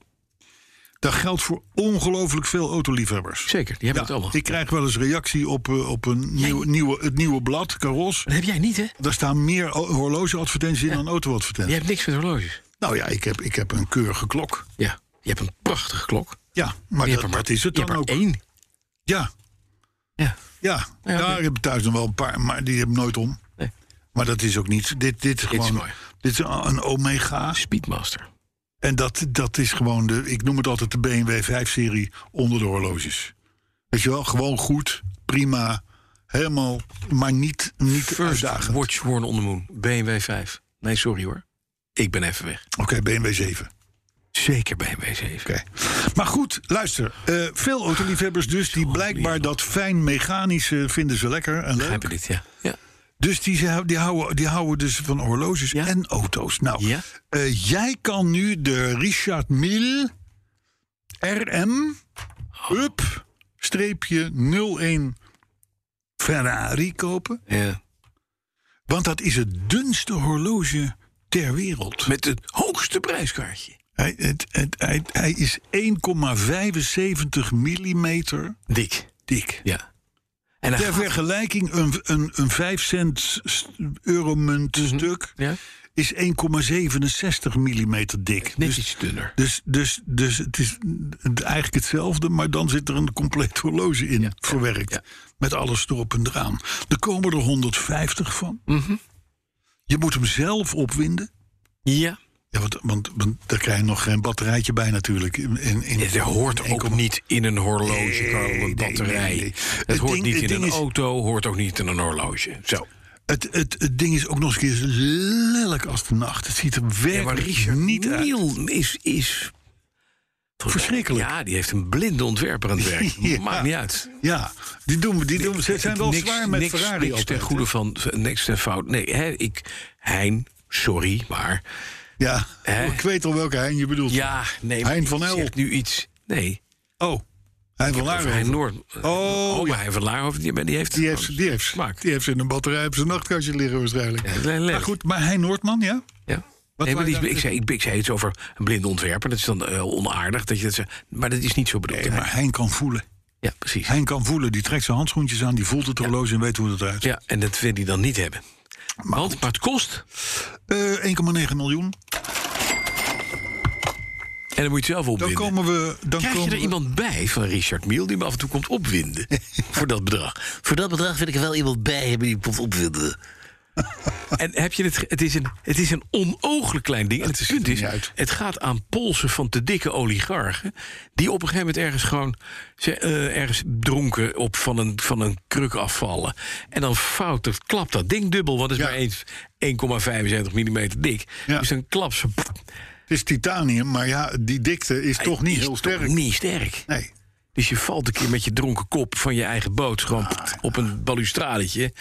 [SPEAKER 3] Dat geldt voor ongelooflijk veel autoliefhebbers.
[SPEAKER 2] zeker. Die hebben het allemaal.
[SPEAKER 3] ik krijg wel eens reactie op, eh, op een nieuw, nieuwe, het nieuwe blad, Karos.
[SPEAKER 2] Dat heb jij niet, hè?
[SPEAKER 3] Daar staan meer o- horlogeadvertenties in dan
[SPEAKER 2] Je
[SPEAKER 3] autoadvertenties.
[SPEAKER 2] hebt niks met horloges.
[SPEAKER 3] Nou ja, ik heb, ik heb een keurige klok.
[SPEAKER 2] Ja. Je hebt een prachtige klok.
[SPEAKER 3] Ja, maar
[SPEAKER 2] je
[SPEAKER 3] dat,
[SPEAKER 2] hebt
[SPEAKER 3] dat is het
[SPEAKER 2] je
[SPEAKER 3] dan ook.
[SPEAKER 2] hebt er één.
[SPEAKER 3] Ja,
[SPEAKER 2] Ja.
[SPEAKER 3] Ja, ja,
[SPEAKER 2] oké.
[SPEAKER 3] ik heb thuis nog wel een paar, maar die heb ik nooit om.
[SPEAKER 2] Nee.
[SPEAKER 3] Maar dat is ook niet. Dit, dit, is
[SPEAKER 2] is
[SPEAKER 3] gewoon,
[SPEAKER 2] mooi.
[SPEAKER 3] dit is een Omega.
[SPEAKER 2] Speedmaster.
[SPEAKER 3] En dat, dat is gewoon de. Ik noem het altijd de BMW 5-serie onder de horloges. Weet je wel, gewoon goed, prima, helemaal, maar niet, niet uitdagend. Oké,
[SPEAKER 2] Watch Worn on the Moon. BMW 5. Nee, sorry hoor. Ik ben even weg.
[SPEAKER 3] BMW 7.
[SPEAKER 2] Zeker BMW 7.
[SPEAKER 3] Oké. Maar goed, luister. eh, veel autoliefhebbers dus, die blijkbaar dat fijn mechanische vinden ze lekker en leuk.
[SPEAKER 2] Begrijp je dit, ja. ja.
[SPEAKER 3] Dus die, ze- die, houden, die houden dus van horloges
[SPEAKER 2] Ja.
[SPEAKER 3] en auto's. Nou,
[SPEAKER 2] Ja.
[SPEAKER 3] eh, jij kan nu de Richard Mille RM up streepje 01 Ferrari kopen.
[SPEAKER 2] ja.
[SPEAKER 3] Want dat is het dunste horloge ter wereld.
[SPEAKER 2] Met het hoogste prijskaartje.
[SPEAKER 3] Hij, het, het, hij, hij is 1,75 millimeter
[SPEAKER 2] Dik.
[SPEAKER 3] dik.
[SPEAKER 2] Ja. En hij
[SPEAKER 3] Ter
[SPEAKER 2] gaat- Mhm.
[SPEAKER 3] vergelijking, een, een, een 5 cent s- euromunt stuk
[SPEAKER 2] Ja.
[SPEAKER 3] is 1,67 mm dik.
[SPEAKER 2] Net
[SPEAKER 3] Dus-
[SPEAKER 2] iets dunner.
[SPEAKER 3] Dus, dus, dus het is eigenlijk hetzelfde, maar dan zit er een compleet horloge in verwerkt.
[SPEAKER 2] ja.
[SPEAKER 3] Met alles erop en eraan. Er komen er 150 van.
[SPEAKER 2] Mhm.
[SPEAKER 3] Je moet hem zelf opwinden.
[SPEAKER 2] Ja.
[SPEAKER 3] Ja, want, want, want daar krijg je nog geen batterijtje bij natuurlijk. In, in, in,
[SPEAKER 2] Dat hoort
[SPEAKER 3] in
[SPEAKER 2] ook
[SPEAKER 3] 1,8.
[SPEAKER 2] niet in een horloge,
[SPEAKER 3] Nee,
[SPEAKER 2] Carlo,
[SPEAKER 3] nee,
[SPEAKER 2] een batterij.
[SPEAKER 3] nee, nee.
[SPEAKER 2] Dat
[SPEAKER 3] Het
[SPEAKER 2] hoort
[SPEAKER 3] ding-
[SPEAKER 2] niet
[SPEAKER 3] het
[SPEAKER 2] in
[SPEAKER 3] ding
[SPEAKER 2] een
[SPEAKER 3] is-
[SPEAKER 2] auto, hoort ook niet in een horloge. Zo.
[SPEAKER 3] Het, het, het ding is ook nog eens een keer lelijk als de nacht. Het ziet er
[SPEAKER 2] Ja, maar
[SPEAKER 3] werkelijk
[SPEAKER 2] Richard
[SPEAKER 3] niet uit.
[SPEAKER 2] Neal is, is...
[SPEAKER 3] Verschrikkelijk.
[SPEAKER 2] Ja, die heeft een blinde ontwerper aan het werk.
[SPEAKER 3] Ja.
[SPEAKER 2] Maakt niet uit.
[SPEAKER 3] Ja, die doen, die doen, ze zijn wel zwaar met
[SPEAKER 2] niks,
[SPEAKER 3] Ferrari
[SPEAKER 2] Niks
[SPEAKER 3] altijd,
[SPEAKER 2] ten
[SPEAKER 3] hè?
[SPEAKER 2] goede van, niks ten fout. Nee, hè, ik, Hein, sorry, maar...
[SPEAKER 3] Ja,
[SPEAKER 2] Hè?
[SPEAKER 3] ik weet al welke Hein je bedoelt.
[SPEAKER 2] Ja, nee, maar
[SPEAKER 3] Hein
[SPEAKER 2] ik
[SPEAKER 3] van El.
[SPEAKER 2] zeg nu iets... Nee,
[SPEAKER 3] Oh, Hein van
[SPEAKER 2] over Hein
[SPEAKER 3] Laarhoven.
[SPEAKER 2] Noord.
[SPEAKER 3] Oh,
[SPEAKER 2] maar Hein van Laarhoven, die, die heeft...
[SPEAKER 3] Die heeft, die, heeft,
[SPEAKER 2] smaak.
[SPEAKER 3] die heeft ze in een batterij op zijn nachtkastje liggen waarschijnlijk.
[SPEAKER 2] Ja, le- le-
[SPEAKER 3] maar goed, maar hij Noordman, ja?
[SPEAKER 2] Ja.
[SPEAKER 3] Wat
[SPEAKER 2] Nee, maar
[SPEAKER 3] wou je
[SPEAKER 2] die-
[SPEAKER 3] nou-
[SPEAKER 2] ik, zei, ik, ik zei iets over een blinde ontwerper. Dat is dan eh, onaardig. Dat je dat zegt. Maar dat is niet zo bedoeld.
[SPEAKER 3] Nee, maar Hein kan voelen.
[SPEAKER 2] Ja, precies.
[SPEAKER 3] Hein kan voelen. Die trekt zijn handschoentjes aan, die voelt het horloge en weet hoe het eruit ziet.
[SPEAKER 2] Ja, en dat wil hij dan niet hebben. Want, maar het kost.
[SPEAKER 3] Eh, 1,9 miljoen.
[SPEAKER 2] En dan moet je het zelf
[SPEAKER 3] Dan
[SPEAKER 2] opwinden.
[SPEAKER 3] komen we... Dan
[SPEAKER 2] Krijg je
[SPEAKER 3] komen
[SPEAKER 2] er
[SPEAKER 3] we-
[SPEAKER 2] iemand bij van Richard Miel die me af en toe komt opwinden? voor dat bedrag. Voor dat bedrag wil ik er wel iemand bij hebben die me komt opwinden. en heb je het, ge- het, is een, het is een onooglijk klein ding. En het punt is,
[SPEAKER 3] niet uit.
[SPEAKER 2] het gaat aan polsen van te dikke oligarchen... die op een gegeven moment ergens gewoon ze, eh, ergens dronken op van een, van een kruk afvallen. En dan fout, dat klapt dat ding dubbel, want het is
[SPEAKER 3] Ja.
[SPEAKER 2] maar eens 1,75 mm dik.
[SPEAKER 3] Ja.
[SPEAKER 2] Dus dan klapt ze... pff,
[SPEAKER 3] Het is titanium, maar ja, die dikte is toch niet
[SPEAKER 2] is
[SPEAKER 3] heel
[SPEAKER 2] toch
[SPEAKER 3] sterk.
[SPEAKER 2] Niet sterk.
[SPEAKER 3] Nee.
[SPEAKER 2] Dus je valt een keer met je dronken kop van je eigen boot... gewoon
[SPEAKER 3] Ah,
[SPEAKER 2] pst, op een balustradetje, 1,9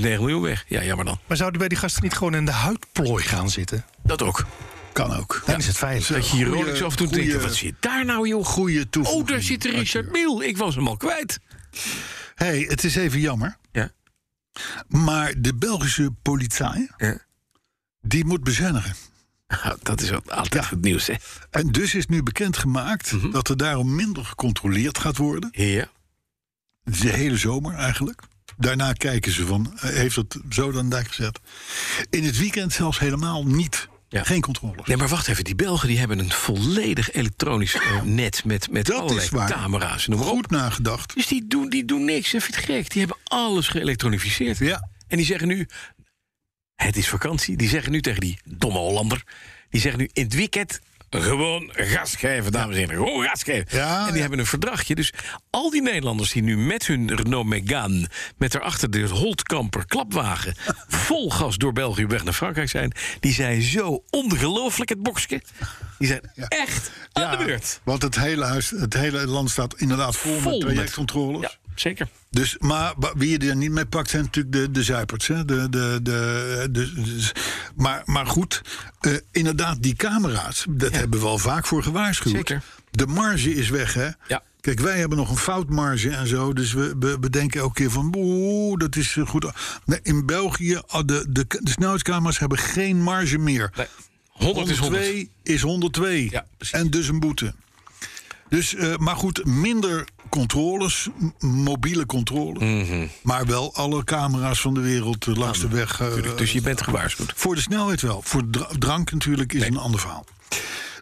[SPEAKER 2] miljoen weg. Ja, jammer dan.
[SPEAKER 4] Maar zouden bij die gasten niet gewoon in de huidplooi gaan zitten?
[SPEAKER 2] Dat ook.
[SPEAKER 3] Kan ook.
[SPEAKER 4] Dan is het veilig.
[SPEAKER 2] Dat je hier
[SPEAKER 3] Goeie-
[SPEAKER 2] Rolex af en toe
[SPEAKER 3] goeie-
[SPEAKER 2] denkt... wat zit daar nou, joh?
[SPEAKER 3] Goeie toevoeging.
[SPEAKER 2] Oh, daar zit Richard Miel. Ik was hem al kwijt.
[SPEAKER 3] hey, het is even jammer.
[SPEAKER 2] Ja.
[SPEAKER 3] Maar de Belgische politie,
[SPEAKER 2] Ja. Ah,
[SPEAKER 3] die moet bezuinigen.
[SPEAKER 2] Dat is wat- altijd
[SPEAKER 3] Ja.
[SPEAKER 2] goed nieuws, hè?
[SPEAKER 3] En dus is nu bekendgemaakt
[SPEAKER 2] Mhm.
[SPEAKER 3] dat er daarom minder gecontroleerd gaat worden.
[SPEAKER 2] Ja.
[SPEAKER 3] De hele zomer eigenlijk. Daarna kijken ze van, eh, heeft het zo dan daar gezet? In het weekend zelfs helemaal niet.
[SPEAKER 2] Ja.
[SPEAKER 3] Geen controles.
[SPEAKER 2] Nee, maar wacht even. Die Belgen die hebben een volledig elektronisch eh, net... met, met
[SPEAKER 3] Dat
[SPEAKER 2] allerlei
[SPEAKER 3] is waar.
[SPEAKER 2] camera's. en Noem maar op.
[SPEAKER 3] Goed nagedacht.
[SPEAKER 2] Dus die doen, die doen niks. Even het gek. Die hebben alles geëlektronificeerd.
[SPEAKER 3] Ja.
[SPEAKER 2] En die zeggen nu, het is vakantie. Die zeggen nu tegen die domme Hollander. Die zeggen nu in het weekend gewoon gas geven, dames en heren. Gewoon gas geven.
[SPEAKER 3] Ja,
[SPEAKER 2] en die
[SPEAKER 3] ja.
[SPEAKER 2] hebben een verdragje. Dus al die Nederlanders die nu met hun Renault Megane... met daarachter de Holtkamper klapwagen... vol gas door België weg naar Frankrijk zijn... die zijn zo ongelooflijk het boksje. Die zijn echt aan de beurt.
[SPEAKER 3] Want het hele, huis, het hele land staat inderdaad vol,
[SPEAKER 2] Vol
[SPEAKER 3] met
[SPEAKER 2] met-
[SPEAKER 3] trajectcontroles.
[SPEAKER 2] Ja, zeker.
[SPEAKER 3] Dus, maar wa- wie je er niet mee pakt zijn natuurlijk de, de zuiperts. Hè? De, de, de, de, de- maar, maar goed, eh, inderdaad, die camera's, dat hebben we al vaak voor gewaarschuwd.
[SPEAKER 2] Zeker.
[SPEAKER 3] De marge is weg, hè?
[SPEAKER 2] Ja.
[SPEAKER 3] Kijk, wij hebben nog een foutmarge en zo. Dus we, we bedenken elke keer van, oeh, dat is eh, goed. Nee, in België, ah, de, de, de snelheidscamera's hebben geen marge meer.
[SPEAKER 2] Nee, 100 is 100.
[SPEAKER 3] 102 is 102.
[SPEAKER 2] Ja, precies.
[SPEAKER 3] en dus een boete. Dus, eh, maar goed, minder controles, m- mobiele controles.
[SPEAKER 2] Mhm.
[SPEAKER 3] Maar wel alle camera's van de wereld eh, langs de weg. eh,
[SPEAKER 2] Tuurlijk, Dus je bent gewaarschuwd.
[SPEAKER 3] Voor de snelheid wel. Voor dra- drank natuurlijk is een ander verhaal.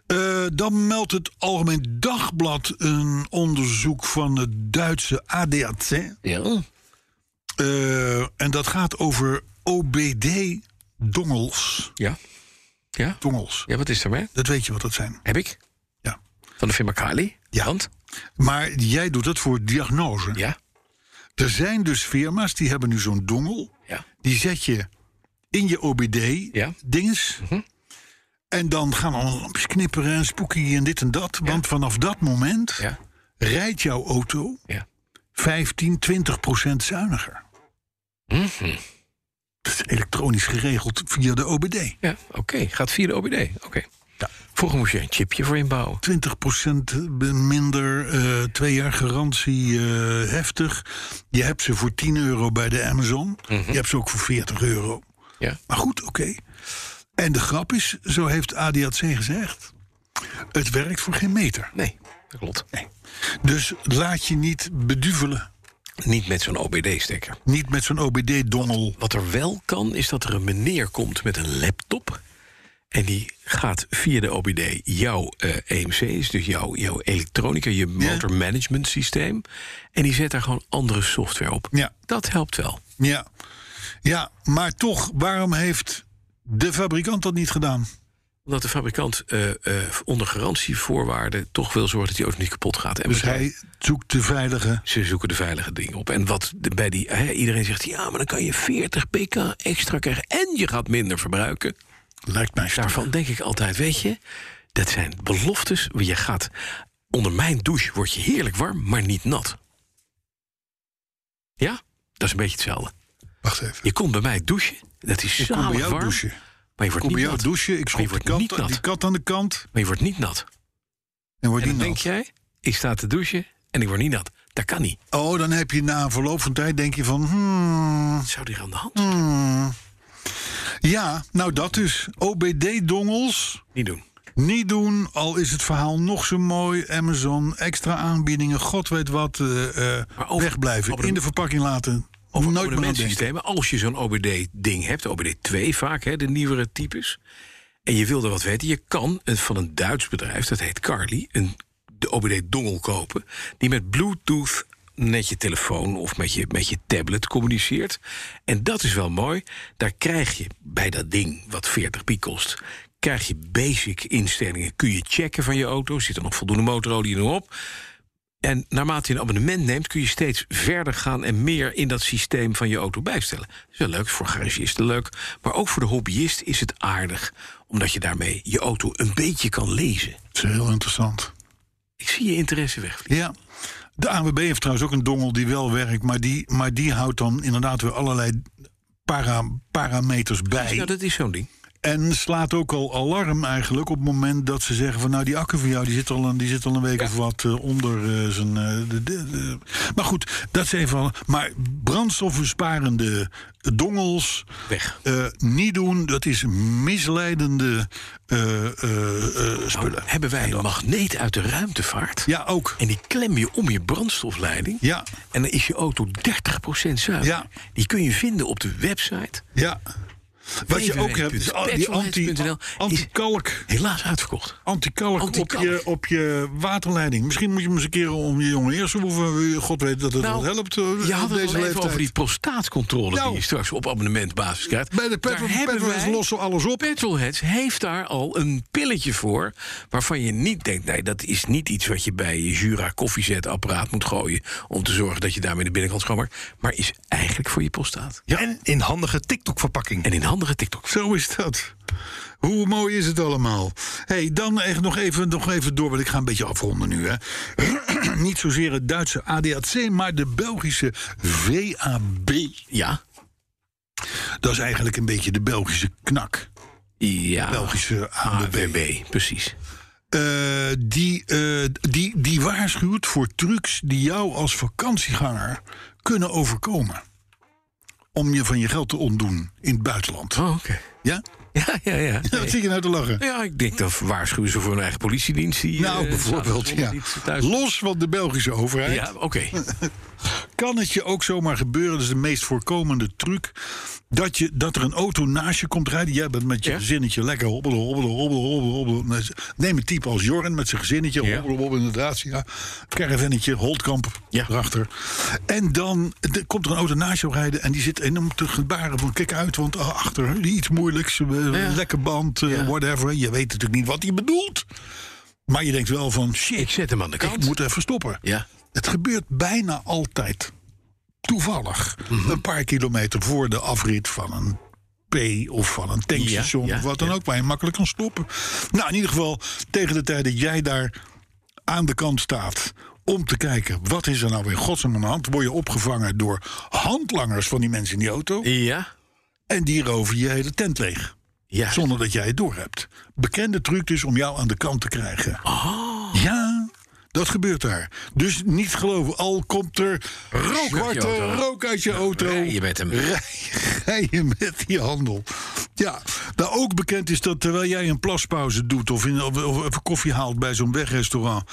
[SPEAKER 3] Eh, dan meldt het Algemeen Dagblad een onderzoek van het Duitse ADAC.
[SPEAKER 2] Ja.
[SPEAKER 3] Eh, en dat gaat over OBD-dongels.
[SPEAKER 2] Ja. Ja.
[SPEAKER 3] Dongels.
[SPEAKER 2] Ja, wat is er mee?
[SPEAKER 3] Dat weet je wat dat zijn.
[SPEAKER 2] Heb ik.
[SPEAKER 3] Ja.
[SPEAKER 2] Van de firma Kali.
[SPEAKER 3] Ja.
[SPEAKER 2] Want?
[SPEAKER 3] Maar jij doet dat voor diagnose.
[SPEAKER 2] Ja.
[SPEAKER 3] Er zijn dus firma's die hebben nu zo'n dongel.
[SPEAKER 2] Ja.
[SPEAKER 3] Die zet je in je
[SPEAKER 2] Ja. Mhm.
[SPEAKER 3] OBD-dinges. En dan gaan al lampjes knipperen en spooky en dit en dat. Want vanaf dat moment
[SPEAKER 2] Ja.
[SPEAKER 3] rijdt jouw auto
[SPEAKER 2] Ja.
[SPEAKER 3] 15, 20 procent zuiniger.
[SPEAKER 2] Mhm.
[SPEAKER 3] Dat is elektronisch geregeld via de OBD.
[SPEAKER 2] Ja, oké. Gaat via de OBD. Oké. Vroeger moest je een chipje voor inbouwen.
[SPEAKER 3] 20% minder, eh, twee jaar garantie eh, heftig. Je hebt ze voor 10 euro bij de Amazon. Je hebt ze ook voor 40 euro.
[SPEAKER 2] Ja.
[SPEAKER 3] Maar goed, oké. En de grap is, zo heeft ADAC gezegd... het werkt voor geen meter.
[SPEAKER 2] Nee, dat klopt.
[SPEAKER 3] Dus laat je niet beduvelen.
[SPEAKER 2] Niet met zo'n OBD-stekker.
[SPEAKER 3] Niet met zo'n OBD-dongel.
[SPEAKER 2] Wat er wel kan, is dat er een meneer komt met een laptop. En die gaat via de OBD jouw eh, EMC, is dus jouw, jouw elektronica, je motor management systeem. En die zet daar gewoon andere software op.
[SPEAKER 3] Ja.
[SPEAKER 2] Dat helpt wel.
[SPEAKER 3] Ja. ja, maar toch, waarom heeft de fabrikant dat niet gedaan?
[SPEAKER 2] Omdat de fabrikant eh, eh, onder garantievoorwaarden toch wil zorgen dat die auto niet kapot gaat. En
[SPEAKER 3] Dus
[SPEAKER 2] bedrijf-
[SPEAKER 3] hij zoekt de veilige.
[SPEAKER 2] Ze zoeken de veilige dingen op. En wat de- bij die, hè, iedereen zegt, ja, maar dan kan je 40 pk extra krijgen en je gaat minder verbruiken.
[SPEAKER 3] Lijkt mij sterk.
[SPEAKER 2] Daarvan denk ik altijd, weet je, dat zijn beloftes. Je gaat onder mijn douche word je heerlijk warm, maar niet nat. Ja, dat is een beetje hetzelfde.
[SPEAKER 3] Wacht even.
[SPEAKER 2] Je komt bij mij douchen, dat is
[SPEAKER 3] Ik kom bij
[SPEAKER 2] zalig
[SPEAKER 3] jou
[SPEAKER 2] warm,
[SPEAKER 3] douchen.
[SPEAKER 2] maar je wordt
[SPEAKER 3] Ik kom bij
[SPEAKER 2] niet
[SPEAKER 3] jou
[SPEAKER 2] nat.
[SPEAKER 3] douchen. Ik
[SPEAKER 2] Maar
[SPEAKER 3] schop
[SPEAKER 2] je
[SPEAKER 3] de
[SPEAKER 2] wordt niet
[SPEAKER 3] kat,
[SPEAKER 2] nat.
[SPEAKER 3] die kat aan de kant.
[SPEAKER 2] Maar je wordt niet nat.
[SPEAKER 3] En wordt
[SPEAKER 2] En
[SPEAKER 3] die
[SPEAKER 2] dan
[SPEAKER 3] nat.
[SPEAKER 2] denk jij, ik sta te douchen en ik word niet nat. Dat kan niet.
[SPEAKER 3] Oh, dan heb je na een verloop van tijd denk je van... Hmm,
[SPEAKER 2] Wat zou die aan de hand?
[SPEAKER 3] hmm. Ja, nou dat dus. OBD-dongels.
[SPEAKER 2] Niet doen.
[SPEAKER 3] Niet doen, al is het verhaal nog zo mooi. Amazon, extra aanbiedingen, god weet wat. eh, eh,
[SPEAKER 2] Maar over-
[SPEAKER 3] wegblijven,
[SPEAKER 2] over-
[SPEAKER 3] in de verpakking laten. Of
[SPEAKER 2] Over
[SPEAKER 3] nooit meer aan denken.
[SPEAKER 2] abonnementsystemen. Als je zo'n OBD-ding hebt, OBD2 vaak, hè, de nieuwere types. En je wilde wat weten, je kan een- van een Duits bedrijf, dat heet Carly, een, de OBD-dongel kopen. Die met Bluetooth met je telefoon of met je, met je tablet communiceert. En dat is wel mooi. Daar krijg je bij dat ding, wat 40 piek kost, krijg je basic instellingen. Kun je checken van je auto, zit er nog voldoende motorolie in op. En naarmate je een abonnement neemt, kun je steeds verder gaan en meer in dat systeem van je auto bijstellen. Dat is wel leuk, voor garagisten leuk. Maar ook voor de hobbyist is het aardig, omdat je daarmee je auto een beetje kan lezen.
[SPEAKER 3] Dat is heel interessant.
[SPEAKER 2] Ik zie je interesse wegvliegen.
[SPEAKER 3] Ja. De ANWB heeft trouwens ook een dongel die wel werkt, maar die, maar die houdt dan inderdaad weer allerlei para, parameters bij.
[SPEAKER 2] Nou, dat is zo'n ding.
[SPEAKER 3] En slaat ook al alarm eigenlijk op het moment dat ze zeggen van nou die akker van jou die zit al een, die zit al een week of wat eh, onder eh, zijn. eh, de- de- de- Maar goed, dat is even. al- Maar brandstofbesparende dongels
[SPEAKER 2] Weg.
[SPEAKER 3] eh, niet doen, dat is misleidende eh, eh, eh,
[SPEAKER 2] Nou,
[SPEAKER 3] spullen.
[SPEAKER 2] hebben wij een magneet uit de ruimtevaart?
[SPEAKER 3] Ja, ook.
[SPEAKER 2] En die klem je om je brandstofleiding.
[SPEAKER 3] Ja.
[SPEAKER 2] En dan is je auto 30% zuiver.
[SPEAKER 3] Ja.
[SPEAKER 2] Die kun je vinden op de website.
[SPEAKER 3] Ja. Wat je ook hebt, is al- die anti-
[SPEAKER 2] www.petrolheads.nl
[SPEAKER 3] anti-kalk.
[SPEAKER 2] Helaas uitverkocht.
[SPEAKER 3] Antikalk op
[SPEAKER 2] Antikalk.
[SPEAKER 3] je, op je waterleiding. Misschien moet je hem eens een keer om je jonge eerste hoeven. God weet dat het
[SPEAKER 2] Nou,
[SPEAKER 3] wel helpt. eh, op
[SPEAKER 2] Je had het
[SPEAKER 3] deze
[SPEAKER 2] al even
[SPEAKER 3] leeftijd.
[SPEAKER 2] over die prostaatcontrole
[SPEAKER 3] Nou.
[SPEAKER 2] die je straks op abonnementbasis krijgt.
[SPEAKER 3] Bij de
[SPEAKER 2] Daar
[SPEAKER 3] petrol,
[SPEAKER 2] hebben
[SPEAKER 3] petrolheads
[SPEAKER 2] wij-
[SPEAKER 3] lossen alles op.
[SPEAKER 2] Petrolheads heeft daar al een pilletje voor... waarvan je niet denkt, nee, dat is niet iets wat je bij je Jura koffiezetapparaat moet gooien... om te zorgen dat je daarmee de binnenkant schoon maakt. maar is eigenlijk voor je prostaat.
[SPEAKER 4] En in handige TikTok-verpakking.
[SPEAKER 2] En in handige TikTok.
[SPEAKER 3] Zo is dat. Hoe mooi is het allemaal? hey, dan echt nog even, nog even door, want ik ga een beetje afronden nu. Hè. Niet zozeer het Duitse ADAC, maar de Belgische VAB.
[SPEAKER 2] Ja,
[SPEAKER 3] Dat is eigenlijk een beetje de Belgische knak.
[SPEAKER 2] ja.
[SPEAKER 3] Belgische ADB.
[SPEAKER 2] AWB, precies.
[SPEAKER 3] Eh, die, eh, die, die waarschuwt voor trucs die jou als vakantieganger kunnen overkomen. Om je van je geld te ontdoen in het buitenland.
[SPEAKER 2] Oh, oké.
[SPEAKER 3] Ja?
[SPEAKER 2] Ja, ja, ja.
[SPEAKER 3] Ja,
[SPEAKER 2] Nee.
[SPEAKER 3] Wat zit je nou te lachen?
[SPEAKER 2] Ja, ik denk dat waarschuwen ze voor hun eigen politiedienst. Die,
[SPEAKER 3] Nou,
[SPEAKER 2] eh,
[SPEAKER 3] bijvoorbeeld,
[SPEAKER 2] zaterdag
[SPEAKER 3] ja.
[SPEAKER 2] niet thuis-
[SPEAKER 3] Los van de Belgische overheid
[SPEAKER 2] Ja, oké.
[SPEAKER 3] kan het je ook zomaar gebeuren. Dat is de meest voorkomende truc. Dat, je, dat er een auto naast je komt rijden. Jij bent met je
[SPEAKER 2] Ja.
[SPEAKER 3] gezinnetje lekker hobbelen, hobbelen, hobbelen, hobbelen, hobbelen. Nou, Neem een type als Jorn met zijn gezinnetje.
[SPEAKER 2] Ja.
[SPEAKER 3] Hobbelen, hobbelen, inderdaad. Ja. Caravannetje, Holtkamp
[SPEAKER 2] Ja.
[SPEAKER 3] erachter. En dan er komt er een auto naast jou rijden. En die zit enorm te gebaren van kijk uit. Want ah, achter iets moeilijks. eh,
[SPEAKER 2] Ja.
[SPEAKER 3] Lekker band, eh,
[SPEAKER 2] Ja.
[SPEAKER 3] whatever. Je weet natuurlijk niet wat hij bedoelt. Maar je denkt wel van
[SPEAKER 2] Ik
[SPEAKER 3] shit,
[SPEAKER 2] zet hem aan de kant.
[SPEAKER 3] ik moet even stoppen.
[SPEAKER 2] Ja.
[SPEAKER 3] Het gebeurt bijna altijd toevallig.
[SPEAKER 2] Mhm.
[SPEAKER 3] Een paar kilometer voor de afrit van een P of van een tankstation
[SPEAKER 2] Ja, ja,
[SPEAKER 3] of wat dan ook, waar je makkelijk kan stoppen. Nou, in ieder geval, tegen de tijd dat jij daar aan de kant staat om te kijken wat is er nou in godsnaam aan de hand, word je opgevangen door handlangers van die mensen in die auto.
[SPEAKER 2] Ja.
[SPEAKER 3] En die roven je hele tent leeg.
[SPEAKER 2] Ja.
[SPEAKER 3] Zonder dat jij het doorhebt. Bekende truc dus om jou aan de kant te krijgen.
[SPEAKER 2] Oh.
[SPEAKER 3] Ja, dat gebeurt daar. Dus niet geloven, al komt er
[SPEAKER 2] uit je
[SPEAKER 3] rookwarte
[SPEAKER 2] auto.
[SPEAKER 3] rook uit je auto.
[SPEAKER 2] Rij je met hem.
[SPEAKER 3] Rij, rij je met die handel. Ja, nou ook bekend is dat terwijl jij een plaspauze doet... of, in, of, of even koffie haalt bij zo'n
[SPEAKER 2] Mm.
[SPEAKER 3] wegrestaurant...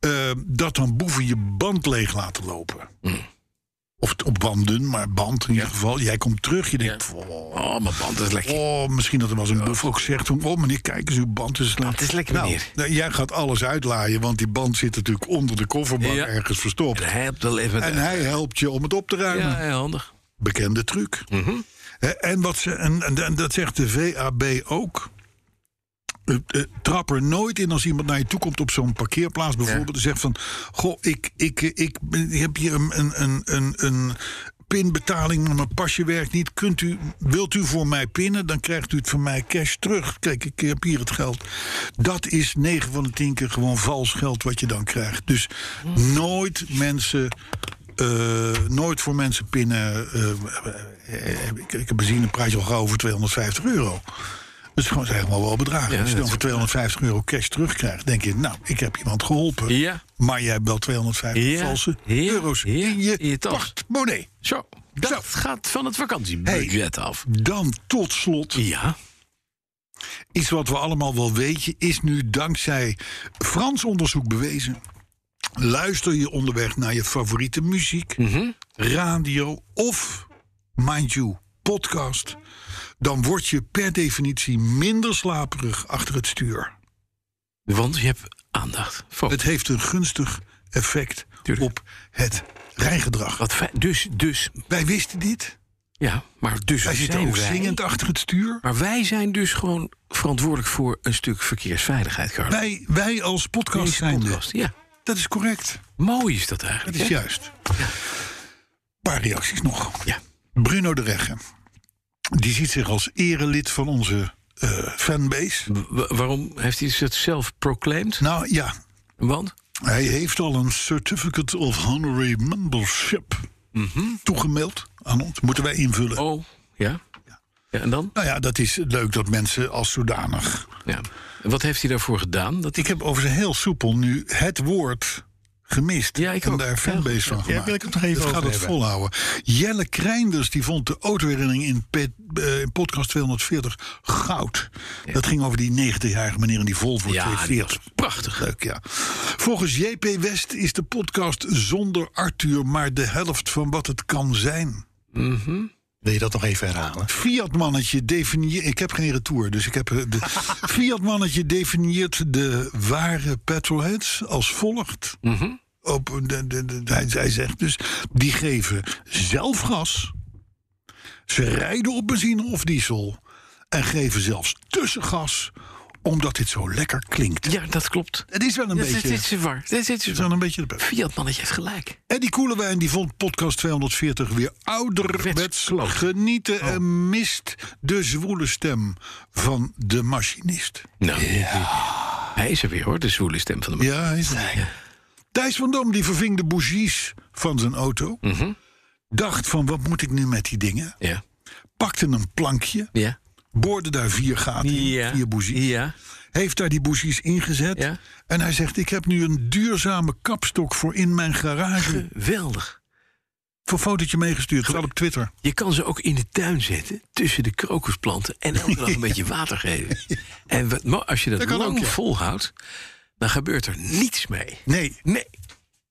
[SPEAKER 3] eh, dat dan boeven je band leeg laten lopen. Of t- op banden, maar band in ieder geval. Jij komt terug, je denkt... Oh,
[SPEAKER 2] Oh, mijn band is lekker.
[SPEAKER 3] oh, misschien dat er wel zo'n buffel ook zegt... Oh, meneer, kijk eens, uw band is lekker.
[SPEAKER 2] Het is lekker,
[SPEAKER 3] nou,
[SPEAKER 2] meneer.
[SPEAKER 3] nou, jij gaat alles uitlaaien, want die band zit natuurlijk onder de kofferbak
[SPEAKER 2] Ja.
[SPEAKER 3] ergens verstopt.
[SPEAKER 2] En hij hebt wel even...
[SPEAKER 3] En hij helpt je om het op te ruimen.
[SPEAKER 2] ja, heel handig.
[SPEAKER 3] Bekende truc. Hè, En, wat ze, en, en- en dat zegt de VAB ook. Eh, eh, Trap er nooit in als iemand naar je toe komt op zo'n parkeerplaats bijvoorbeeld. En zegt van, goh, ik, ik, eh, ik, ben- ik heb hier een, een, een, een, een pinbetaling, maar mijn pasje werkt niet. Kunt u, wilt u voor mij pinnen, dan krijgt u het van mij cash terug. Kijk, ik heb hier het geld. Dat is 9 van de 10 keer gewoon vals geld wat je dan krijgt. Dus nooit mensen eh, nooit voor mensen pinnen. eh, eh, ik, ik heb benzine prijs al gauw over 250 euro. Dat is gewoon, zijn gewoon wel bedragen. Als je dan voor 250 euro cash terugkrijgt, denk je, nou, ik heb iemand geholpen.
[SPEAKER 2] Ja.
[SPEAKER 3] Maar jij hebt wel 250
[SPEAKER 2] Ja.
[SPEAKER 3] valse
[SPEAKER 2] Ja.
[SPEAKER 3] euro's
[SPEAKER 2] Ja.
[SPEAKER 3] in je,
[SPEAKER 2] In je tas.
[SPEAKER 3] portemonnee.
[SPEAKER 2] Zo, dat
[SPEAKER 3] Zo.
[SPEAKER 2] gaat van het vakantiebudget af.
[SPEAKER 3] Dan tot slot,
[SPEAKER 2] Ja.
[SPEAKER 3] iets wat we allemaal wel weten, is nu dankzij Frans onderzoek bewezen. Luister je onderweg naar je favoriete muziek,
[SPEAKER 2] Mhm.
[SPEAKER 3] radio of, mind you, podcast. Dan word je per definitie minder slaperig achter het stuur.
[SPEAKER 2] Want je hebt aandacht. Focus.
[SPEAKER 3] Het heeft een gunstig effect
[SPEAKER 2] Tuurlijk.
[SPEAKER 3] op het rijgedrag.
[SPEAKER 2] Wat fijn. Dus, dus,
[SPEAKER 3] Wij wisten dit.
[SPEAKER 2] ja, maar dus
[SPEAKER 3] Wij zitten
[SPEAKER 2] zijn
[SPEAKER 3] ook
[SPEAKER 2] wij-
[SPEAKER 3] zingend achter het stuur.
[SPEAKER 2] Maar wij zijn dus gewoon verantwoordelijk voor een stuk verkeersveiligheid, Carlo.
[SPEAKER 3] Wij, wij als podcast
[SPEAKER 2] Deze
[SPEAKER 3] zijn
[SPEAKER 2] podcast, ja.
[SPEAKER 3] Dat is correct.
[SPEAKER 2] Mooi is dat eigenlijk.
[SPEAKER 3] Dat is
[SPEAKER 2] hè?
[SPEAKER 3] juist. Een paar reacties nog.
[SPEAKER 2] Ja.
[SPEAKER 3] Bruno de Regge. Die ziet zich als erelid van onze eh, fanbase.
[SPEAKER 2] Wa- waarom heeft hij het zelf proclaimed?
[SPEAKER 3] Nou ja,
[SPEAKER 2] Want?
[SPEAKER 3] hij heeft al een Certificate of Honorary Membership toegemaild aan ons. Moeten wij invullen.
[SPEAKER 2] Mhm. Oh, ja. ja en dan?
[SPEAKER 3] Nou ja, dat is leuk dat mensen als zodanig.
[SPEAKER 2] Ja. En wat heeft hij daarvoor gedaan? Dat
[SPEAKER 3] Ik heb overigens heel soepel nu het woord gemist.
[SPEAKER 2] Ja, ik
[SPEAKER 3] en
[SPEAKER 2] ook.
[SPEAKER 3] daar fanbase van gemaakt.
[SPEAKER 4] Ja, wil ik het nog even
[SPEAKER 3] dat
[SPEAKER 4] over
[SPEAKER 3] gaat het
[SPEAKER 4] hebben.
[SPEAKER 3] volhouden. Jelle Krijnders die vond de autoherinnering in, pet- eh, in podcast 240 goud. Dat ging over die 90-jarige meneer in die Volvo
[SPEAKER 2] Ja, die
[SPEAKER 3] 240.
[SPEAKER 2] was prachtig.
[SPEAKER 3] Leuk, ja. Volgens JP West is de podcast zonder Arthur maar de helft van wat het kan zijn.
[SPEAKER 7] Wil je dat nog even herhalen?
[SPEAKER 3] Fiat-mannetje definieert... Ik heb geen retour, dus ik heb... eh, De, Fiat-mannetje definieert de ware petrolheads als volgt. Op, de, de, de- hij, hij zegt dus, die geven zelf gas. Ze rijden op benzine of diesel. En geven zelfs tussengas, omdat dit zo lekker klinkt.
[SPEAKER 2] Ja, dat klopt.
[SPEAKER 3] Het is wel een
[SPEAKER 2] Dat
[SPEAKER 3] beetje...
[SPEAKER 2] dit is waar. Dit is
[SPEAKER 3] is wel
[SPEAKER 2] waar.
[SPEAKER 3] een beetje de pet.
[SPEAKER 2] Fiat mannetje heeft gelijk.
[SPEAKER 3] En die Koelewijn die vond podcast 240 weer ouderwets
[SPEAKER 2] Wetsloot.
[SPEAKER 3] genieten
[SPEAKER 2] Oh.
[SPEAKER 3] en mist de zwoele stem van de machinist.
[SPEAKER 2] Nou, hij is er weer hoor, de zwoele stem van de man.
[SPEAKER 3] Ja, hij is het. Thijs van Dam die verving de bougies van zijn auto. Dacht van wat moet ik nu met die dingen?
[SPEAKER 2] Mhm. Ja.
[SPEAKER 3] Pakte een plankje,
[SPEAKER 2] Ja.
[SPEAKER 3] boorde daar vier gaten in,
[SPEAKER 2] Ja.
[SPEAKER 3] vier bougies.
[SPEAKER 2] Ja.
[SPEAKER 3] Heeft daar die bougies ingezet.
[SPEAKER 2] Ja.
[SPEAKER 3] En hij zegt ik heb nu een duurzame kapstok voor in mijn garage.
[SPEAKER 2] Geweldig.
[SPEAKER 3] Voor fotootje meegestuurd, wel op Twitter.
[SPEAKER 2] Je kan ze ook in de tuin zetten, tussen de krokusplanten... en elke dag een beetje water geven. En wat, mo- als je dat,
[SPEAKER 3] Dat kan
[SPEAKER 2] lang
[SPEAKER 3] ook, ja.
[SPEAKER 2] volhoudt, dan gebeurt er niets mee.
[SPEAKER 3] Nee,
[SPEAKER 2] Nee,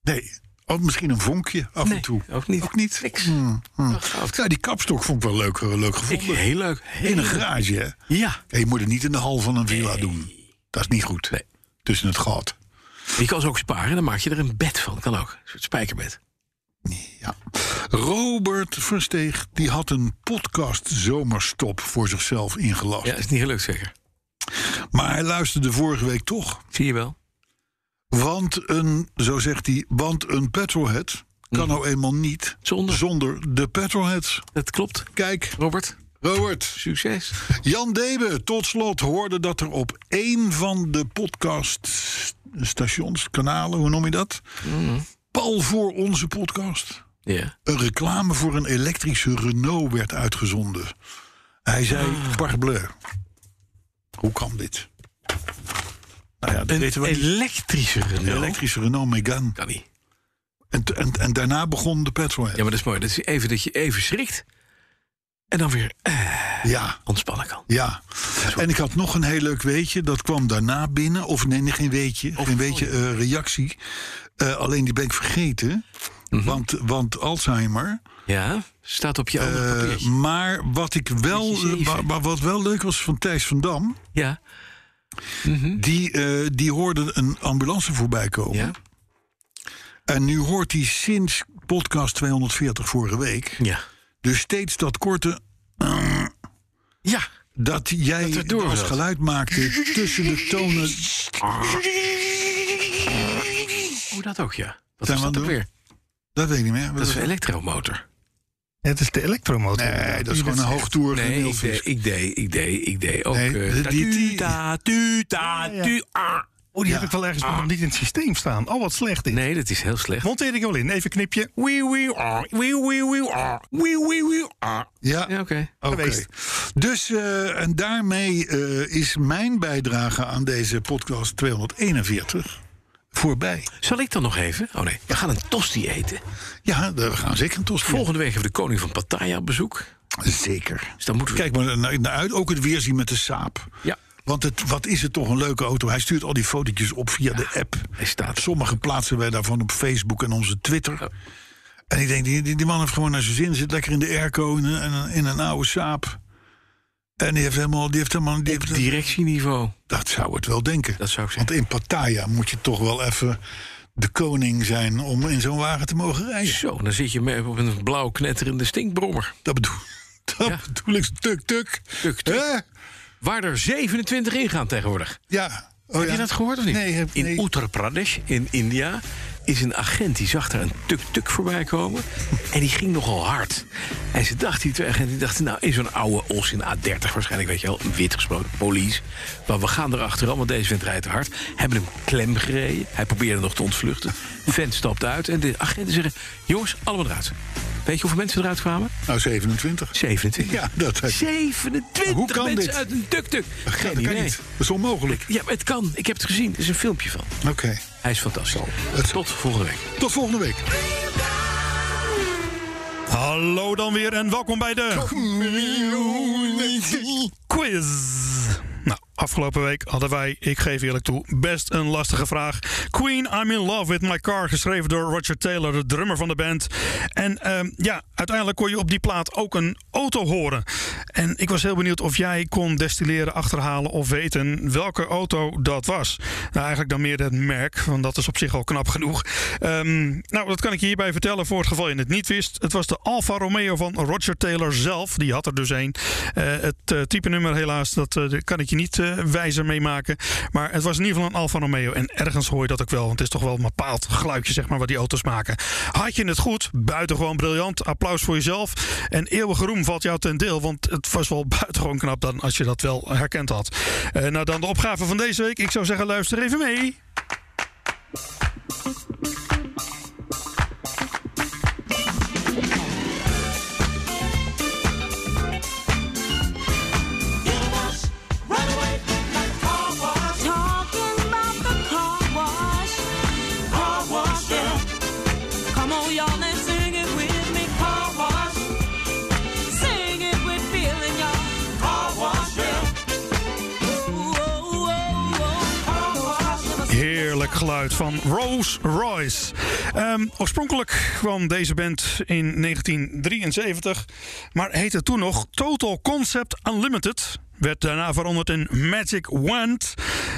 [SPEAKER 3] Nee. Oh, misschien een vonkje af
[SPEAKER 2] nee
[SPEAKER 3] en toe.
[SPEAKER 2] ook niet.
[SPEAKER 3] Ook niet. Hmm,
[SPEAKER 2] Niks.
[SPEAKER 3] Ja, die kapstok vond ik wel leuk, eh, leuk
[SPEAKER 2] Ik,
[SPEAKER 3] gevonden.
[SPEAKER 2] heel leuk.
[SPEAKER 3] in
[SPEAKER 2] Heel
[SPEAKER 3] een garage, hè?
[SPEAKER 2] Ja.
[SPEAKER 3] Ja, je moet het niet in de hal van een villa doen. Dat is niet goed.
[SPEAKER 2] Nee.
[SPEAKER 3] Tussen het gat.
[SPEAKER 2] Je kan ze ook sparen, dan maak je er een bed van. Kan ook. Een soort spijkerbed.
[SPEAKER 3] Ja. Robert Versteeg die had een podcast zomerstop voor zichzelf ingelast.
[SPEAKER 2] Ja, is niet gelukt zeker.
[SPEAKER 3] Maar hij luisterde vorige week toch.
[SPEAKER 2] Zie je wel.
[SPEAKER 3] Want een, zo zegt hij, want een petrolhead kan nou eenmaal niet
[SPEAKER 2] Mm. Zonder.
[SPEAKER 3] zonder de petrolheads.
[SPEAKER 2] Dat klopt.
[SPEAKER 3] Kijk,
[SPEAKER 2] Robert,
[SPEAKER 3] Robert.
[SPEAKER 2] succes.
[SPEAKER 3] Jan Debe, tot slot, hoorde dat er op één van de podcaststations, kanalen, hoe noem je dat?
[SPEAKER 2] Mm-hmm.
[SPEAKER 3] Pal voor onze podcast.
[SPEAKER 2] Ja.
[SPEAKER 3] Een reclame voor een elektrische Renault werd uitgezonden. Hij zei,
[SPEAKER 2] Ah.
[SPEAKER 3] parbleu. Hoe kan dit? Nou ja, dat
[SPEAKER 2] Een
[SPEAKER 3] weten we niet.
[SPEAKER 2] elektrische
[SPEAKER 3] Een
[SPEAKER 2] Renault.
[SPEAKER 3] elektrische Renault Megane.
[SPEAKER 2] Kan niet.
[SPEAKER 3] En, t- en, en daarna begon de petrolhead.
[SPEAKER 2] Ja, maar dat is mooi. Dat is even dat je even schrikt. En dan weer eh,
[SPEAKER 3] ja.
[SPEAKER 2] ontspannen kan.
[SPEAKER 3] Ja, en ik had nog een heel leuk weetje. Dat kwam daarna binnen. Of nee, nee, geen weetje. geen weetje, eh, reactie. Eh, alleen die ben ik vergeten.
[SPEAKER 2] Mhm.
[SPEAKER 3] want, want Alzheimer.
[SPEAKER 2] Ja, staat op je andere
[SPEAKER 3] Eh,
[SPEAKER 2] papiertje.
[SPEAKER 3] maar wat ik wel,
[SPEAKER 2] Papiertje zeven.
[SPEAKER 3] wa- wa- wat wel leuk was van Thijs van Dam.
[SPEAKER 2] Ja,
[SPEAKER 3] Die, eh, die hoorde een ambulance voorbij komen.
[SPEAKER 2] Hm? ja,
[SPEAKER 3] En nu hoort hij sinds podcast 240 vorige week.
[SPEAKER 2] ja.
[SPEAKER 3] Dus steeds dat korte.
[SPEAKER 2] Ja,
[SPEAKER 3] Dat jij
[SPEAKER 2] Dat er door
[SPEAKER 3] als
[SPEAKER 2] zat.
[SPEAKER 3] geluid maakte tussen de tonen.
[SPEAKER 2] hoe Oh, dat ook, ja. Wat
[SPEAKER 3] Zijn
[SPEAKER 2] is
[SPEAKER 3] we
[SPEAKER 2] dat
[SPEAKER 3] aan het
[SPEAKER 2] ook weer?
[SPEAKER 3] Dat weet ik niet meer.
[SPEAKER 2] Dat is een elektromotor.
[SPEAKER 5] Het is de elektromotor.
[SPEAKER 3] nee, dat is gewoon een hoogtoer
[SPEAKER 2] Nee, ik
[SPEAKER 3] geneelvis.
[SPEAKER 2] deed, ik deed, ik deed, ik deed ook...
[SPEAKER 3] Nee,
[SPEAKER 2] eh,
[SPEAKER 3] de-
[SPEAKER 2] ta-
[SPEAKER 3] die-
[SPEAKER 2] tu-
[SPEAKER 3] die-
[SPEAKER 2] ta- tu- ta-
[SPEAKER 5] Ja, ja.
[SPEAKER 2] tu- ah.
[SPEAKER 5] Oh, die heb ik wel ergens maar nog niet in het systeem staan. Oh, wat slecht dit.
[SPEAKER 2] Nee, dat is heel slecht.
[SPEAKER 5] Monteer ik wel in. Even knipje.
[SPEAKER 2] Wee wee ah, wee wee wee ah, wee wee wee ah.
[SPEAKER 3] Ja,
[SPEAKER 2] Ja, oké.
[SPEAKER 3] oké.
[SPEAKER 5] geweest.
[SPEAKER 3] Dus eh, en daarmee eh, is mijn bijdrage aan deze podcast 241 voorbij.
[SPEAKER 2] Zal ik dan nog even? Oh nee, we gaan een tosti eten.
[SPEAKER 3] Ja, we gaan zeker een tos
[SPEAKER 2] Volgende week hebben we de koning van Pattaya op bezoek.
[SPEAKER 3] Zeker.
[SPEAKER 2] Dus dan moeten we...
[SPEAKER 3] Kijk maar naar, naar uit. Ook het weerzien met de saap.
[SPEAKER 2] Ja.
[SPEAKER 3] Want het, wat is het toch een leuke auto? Hij stuurt al die fotootjes op via de app.
[SPEAKER 2] hij staat-
[SPEAKER 3] Sommige plaatsen wij daarvan op Facebook en onze Twitter.
[SPEAKER 2] Ja.
[SPEAKER 3] En ik denk, die, die, die man heeft gewoon naar zijn zin. Zit lekker in de airco, in een, in een, in een oude saap. En die heeft helemaal... Die heeft helemaal die heeft-
[SPEAKER 2] Directieniveau.
[SPEAKER 3] Dat zou het wel denken.
[SPEAKER 2] Dat zou ik
[SPEAKER 3] Want
[SPEAKER 2] zeggen.
[SPEAKER 3] in Pattaya moet je toch wel even de koning zijn... om in zo'n wagen te mogen rijden.
[SPEAKER 2] Zo, dan zit je met- op een blauw knetterende stinkbrommer.
[SPEAKER 3] Dat bedoel, dat
[SPEAKER 2] Ja.
[SPEAKER 3] bedoel ik. Tuk, tuk.
[SPEAKER 2] Tuk, tuk.
[SPEAKER 3] Hè?
[SPEAKER 2] Waar er 27 in gaan tegenwoordig.
[SPEAKER 3] Ja. Oh,
[SPEAKER 2] heb
[SPEAKER 3] ja.
[SPEAKER 2] je dat gehoord of niet?
[SPEAKER 3] Nee, heb-
[SPEAKER 2] in
[SPEAKER 3] nee.
[SPEAKER 2] Uttar Pradesh, in India, is een agent die zag daar een tuk-tuk voorbij komen. en die ging nogal hard. En ze dachten, die twee agenten, die dachten, nou, in zo'n oude os in A30 waarschijnlijk, weet je wel, wit gesproken, police. Maar we gaan erachteraan, want deze vent rijdt te hard. Hebben hem klem gereden. Hij probeerde nog te ontvluchten. Vent stapt uit en de agenten zeggen, jongens, allemaal eruit. Weet je hoeveel mensen eruit kwamen?
[SPEAKER 3] Nou, 27.
[SPEAKER 2] 27.
[SPEAKER 3] Ja, dat heb je.
[SPEAKER 2] 27
[SPEAKER 3] Hoe kan
[SPEAKER 2] mensen
[SPEAKER 3] dit?
[SPEAKER 2] uit een tuk-tuk.
[SPEAKER 3] Ja,
[SPEAKER 2] Geen
[SPEAKER 3] dat kan
[SPEAKER 2] idee.
[SPEAKER 3] niet. Dat is onmogelijk.
[SPEAKER 2] Ja, maar het kan. Ik heb het gezien. Er is een filmpje van.
[SPEAKER 3] Oké.
[SPEAKER 2] Hij is fantastisch.
[SPEAKER 3] Het-
[SPEAKER 2] Tot volgende week.
[SPEAKER 3] Tot volgende week.
[SPEAKER 8] Hallo dan weer en welkom bij de quiz.
[SPEAKER 5] Nou, afgelopen week hadden wij, ik geef eerlijk toe, best een lastige vraag. Queen, I'm in love with my car, geschreven door Roger Taylor, de drummer van de band. En ehm, ja, uiteindelijk kon je op die plaat ook een auto horen. En ik was heel benieuwd of jij kon destilleren, achterhalen of weten welke auto dat was. Nou, eigenlijk dan meer het merk, want dat is op zich al knap genoeg. Ehm, nou, dat kan ik je hierbij vertellen voor het geval je het niet wist. Het was de Alfa Romeo van Roger Taylor zelf. Die had er dus een. Eh, het eh, type nummer helaas, dat eh, daar kan ik je niet eh, wijzer mee maken. Maar het was in ieder geval een Alfa Romeo. En ergens hoor je dat ook wel, want het is toch wel een bepaald geluidje zeg maar, wat die auto's maken. Had je het goed? Buitengewoon briljant. Applaus voor jezelf. En eeuwig roem valt jou ten deel, want het was wel buitengewoon knap dan als je dat wel herkend had. Eh, nou dan de opgave van deze week. Ik zou zeggen, luister even mee.
[SPEAKER 4] Talking about the car wash. Car wash, girl. Come on, y'all, and sing it with me. Car wash. Sing it with feeling, y'all. Car wash, girl. oh,
[SPEAKER 5] Heerlijk geluid van Rolls Royce. Ehm, oorspronkelijk kwam deze band in 1973, maar heette toen nog Total Concept Unlimited. Werd daarna veranderd in Magic Wand.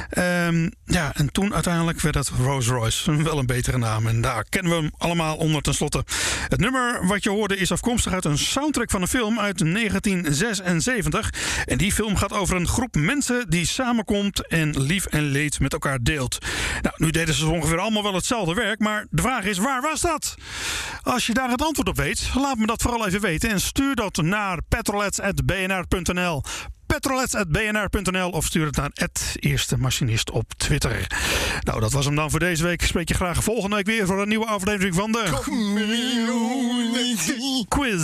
[SPEAKER 5] Ehm, ja, en toen uiteindelijk werd het Rolls Royce. Wel een betere naam. En daar kennen we hem allemaal onder tenslotte. Het nummer wat je hoorde is afkomstig uit een soundtrack van een film uit 1976. En die film gaat over een groep mensen die samenkomt en lief en leed met elkaar deelt. Nou, nu deden ze ongeveer allemaal wel hetzelfde werk, maar de vraag is waar was dat? Als je daar het antwoord op weet, laat me dat vooral even weten en stuur dat naar petrolets.bnr.nl petrolets.bnr.nl of stuur het naar het Eerste Machinist op Twitter. Nou, dat was hem dan voor deze week. Spreek je graag volgende week weer voor een nieuwe aflevering van de Quiz.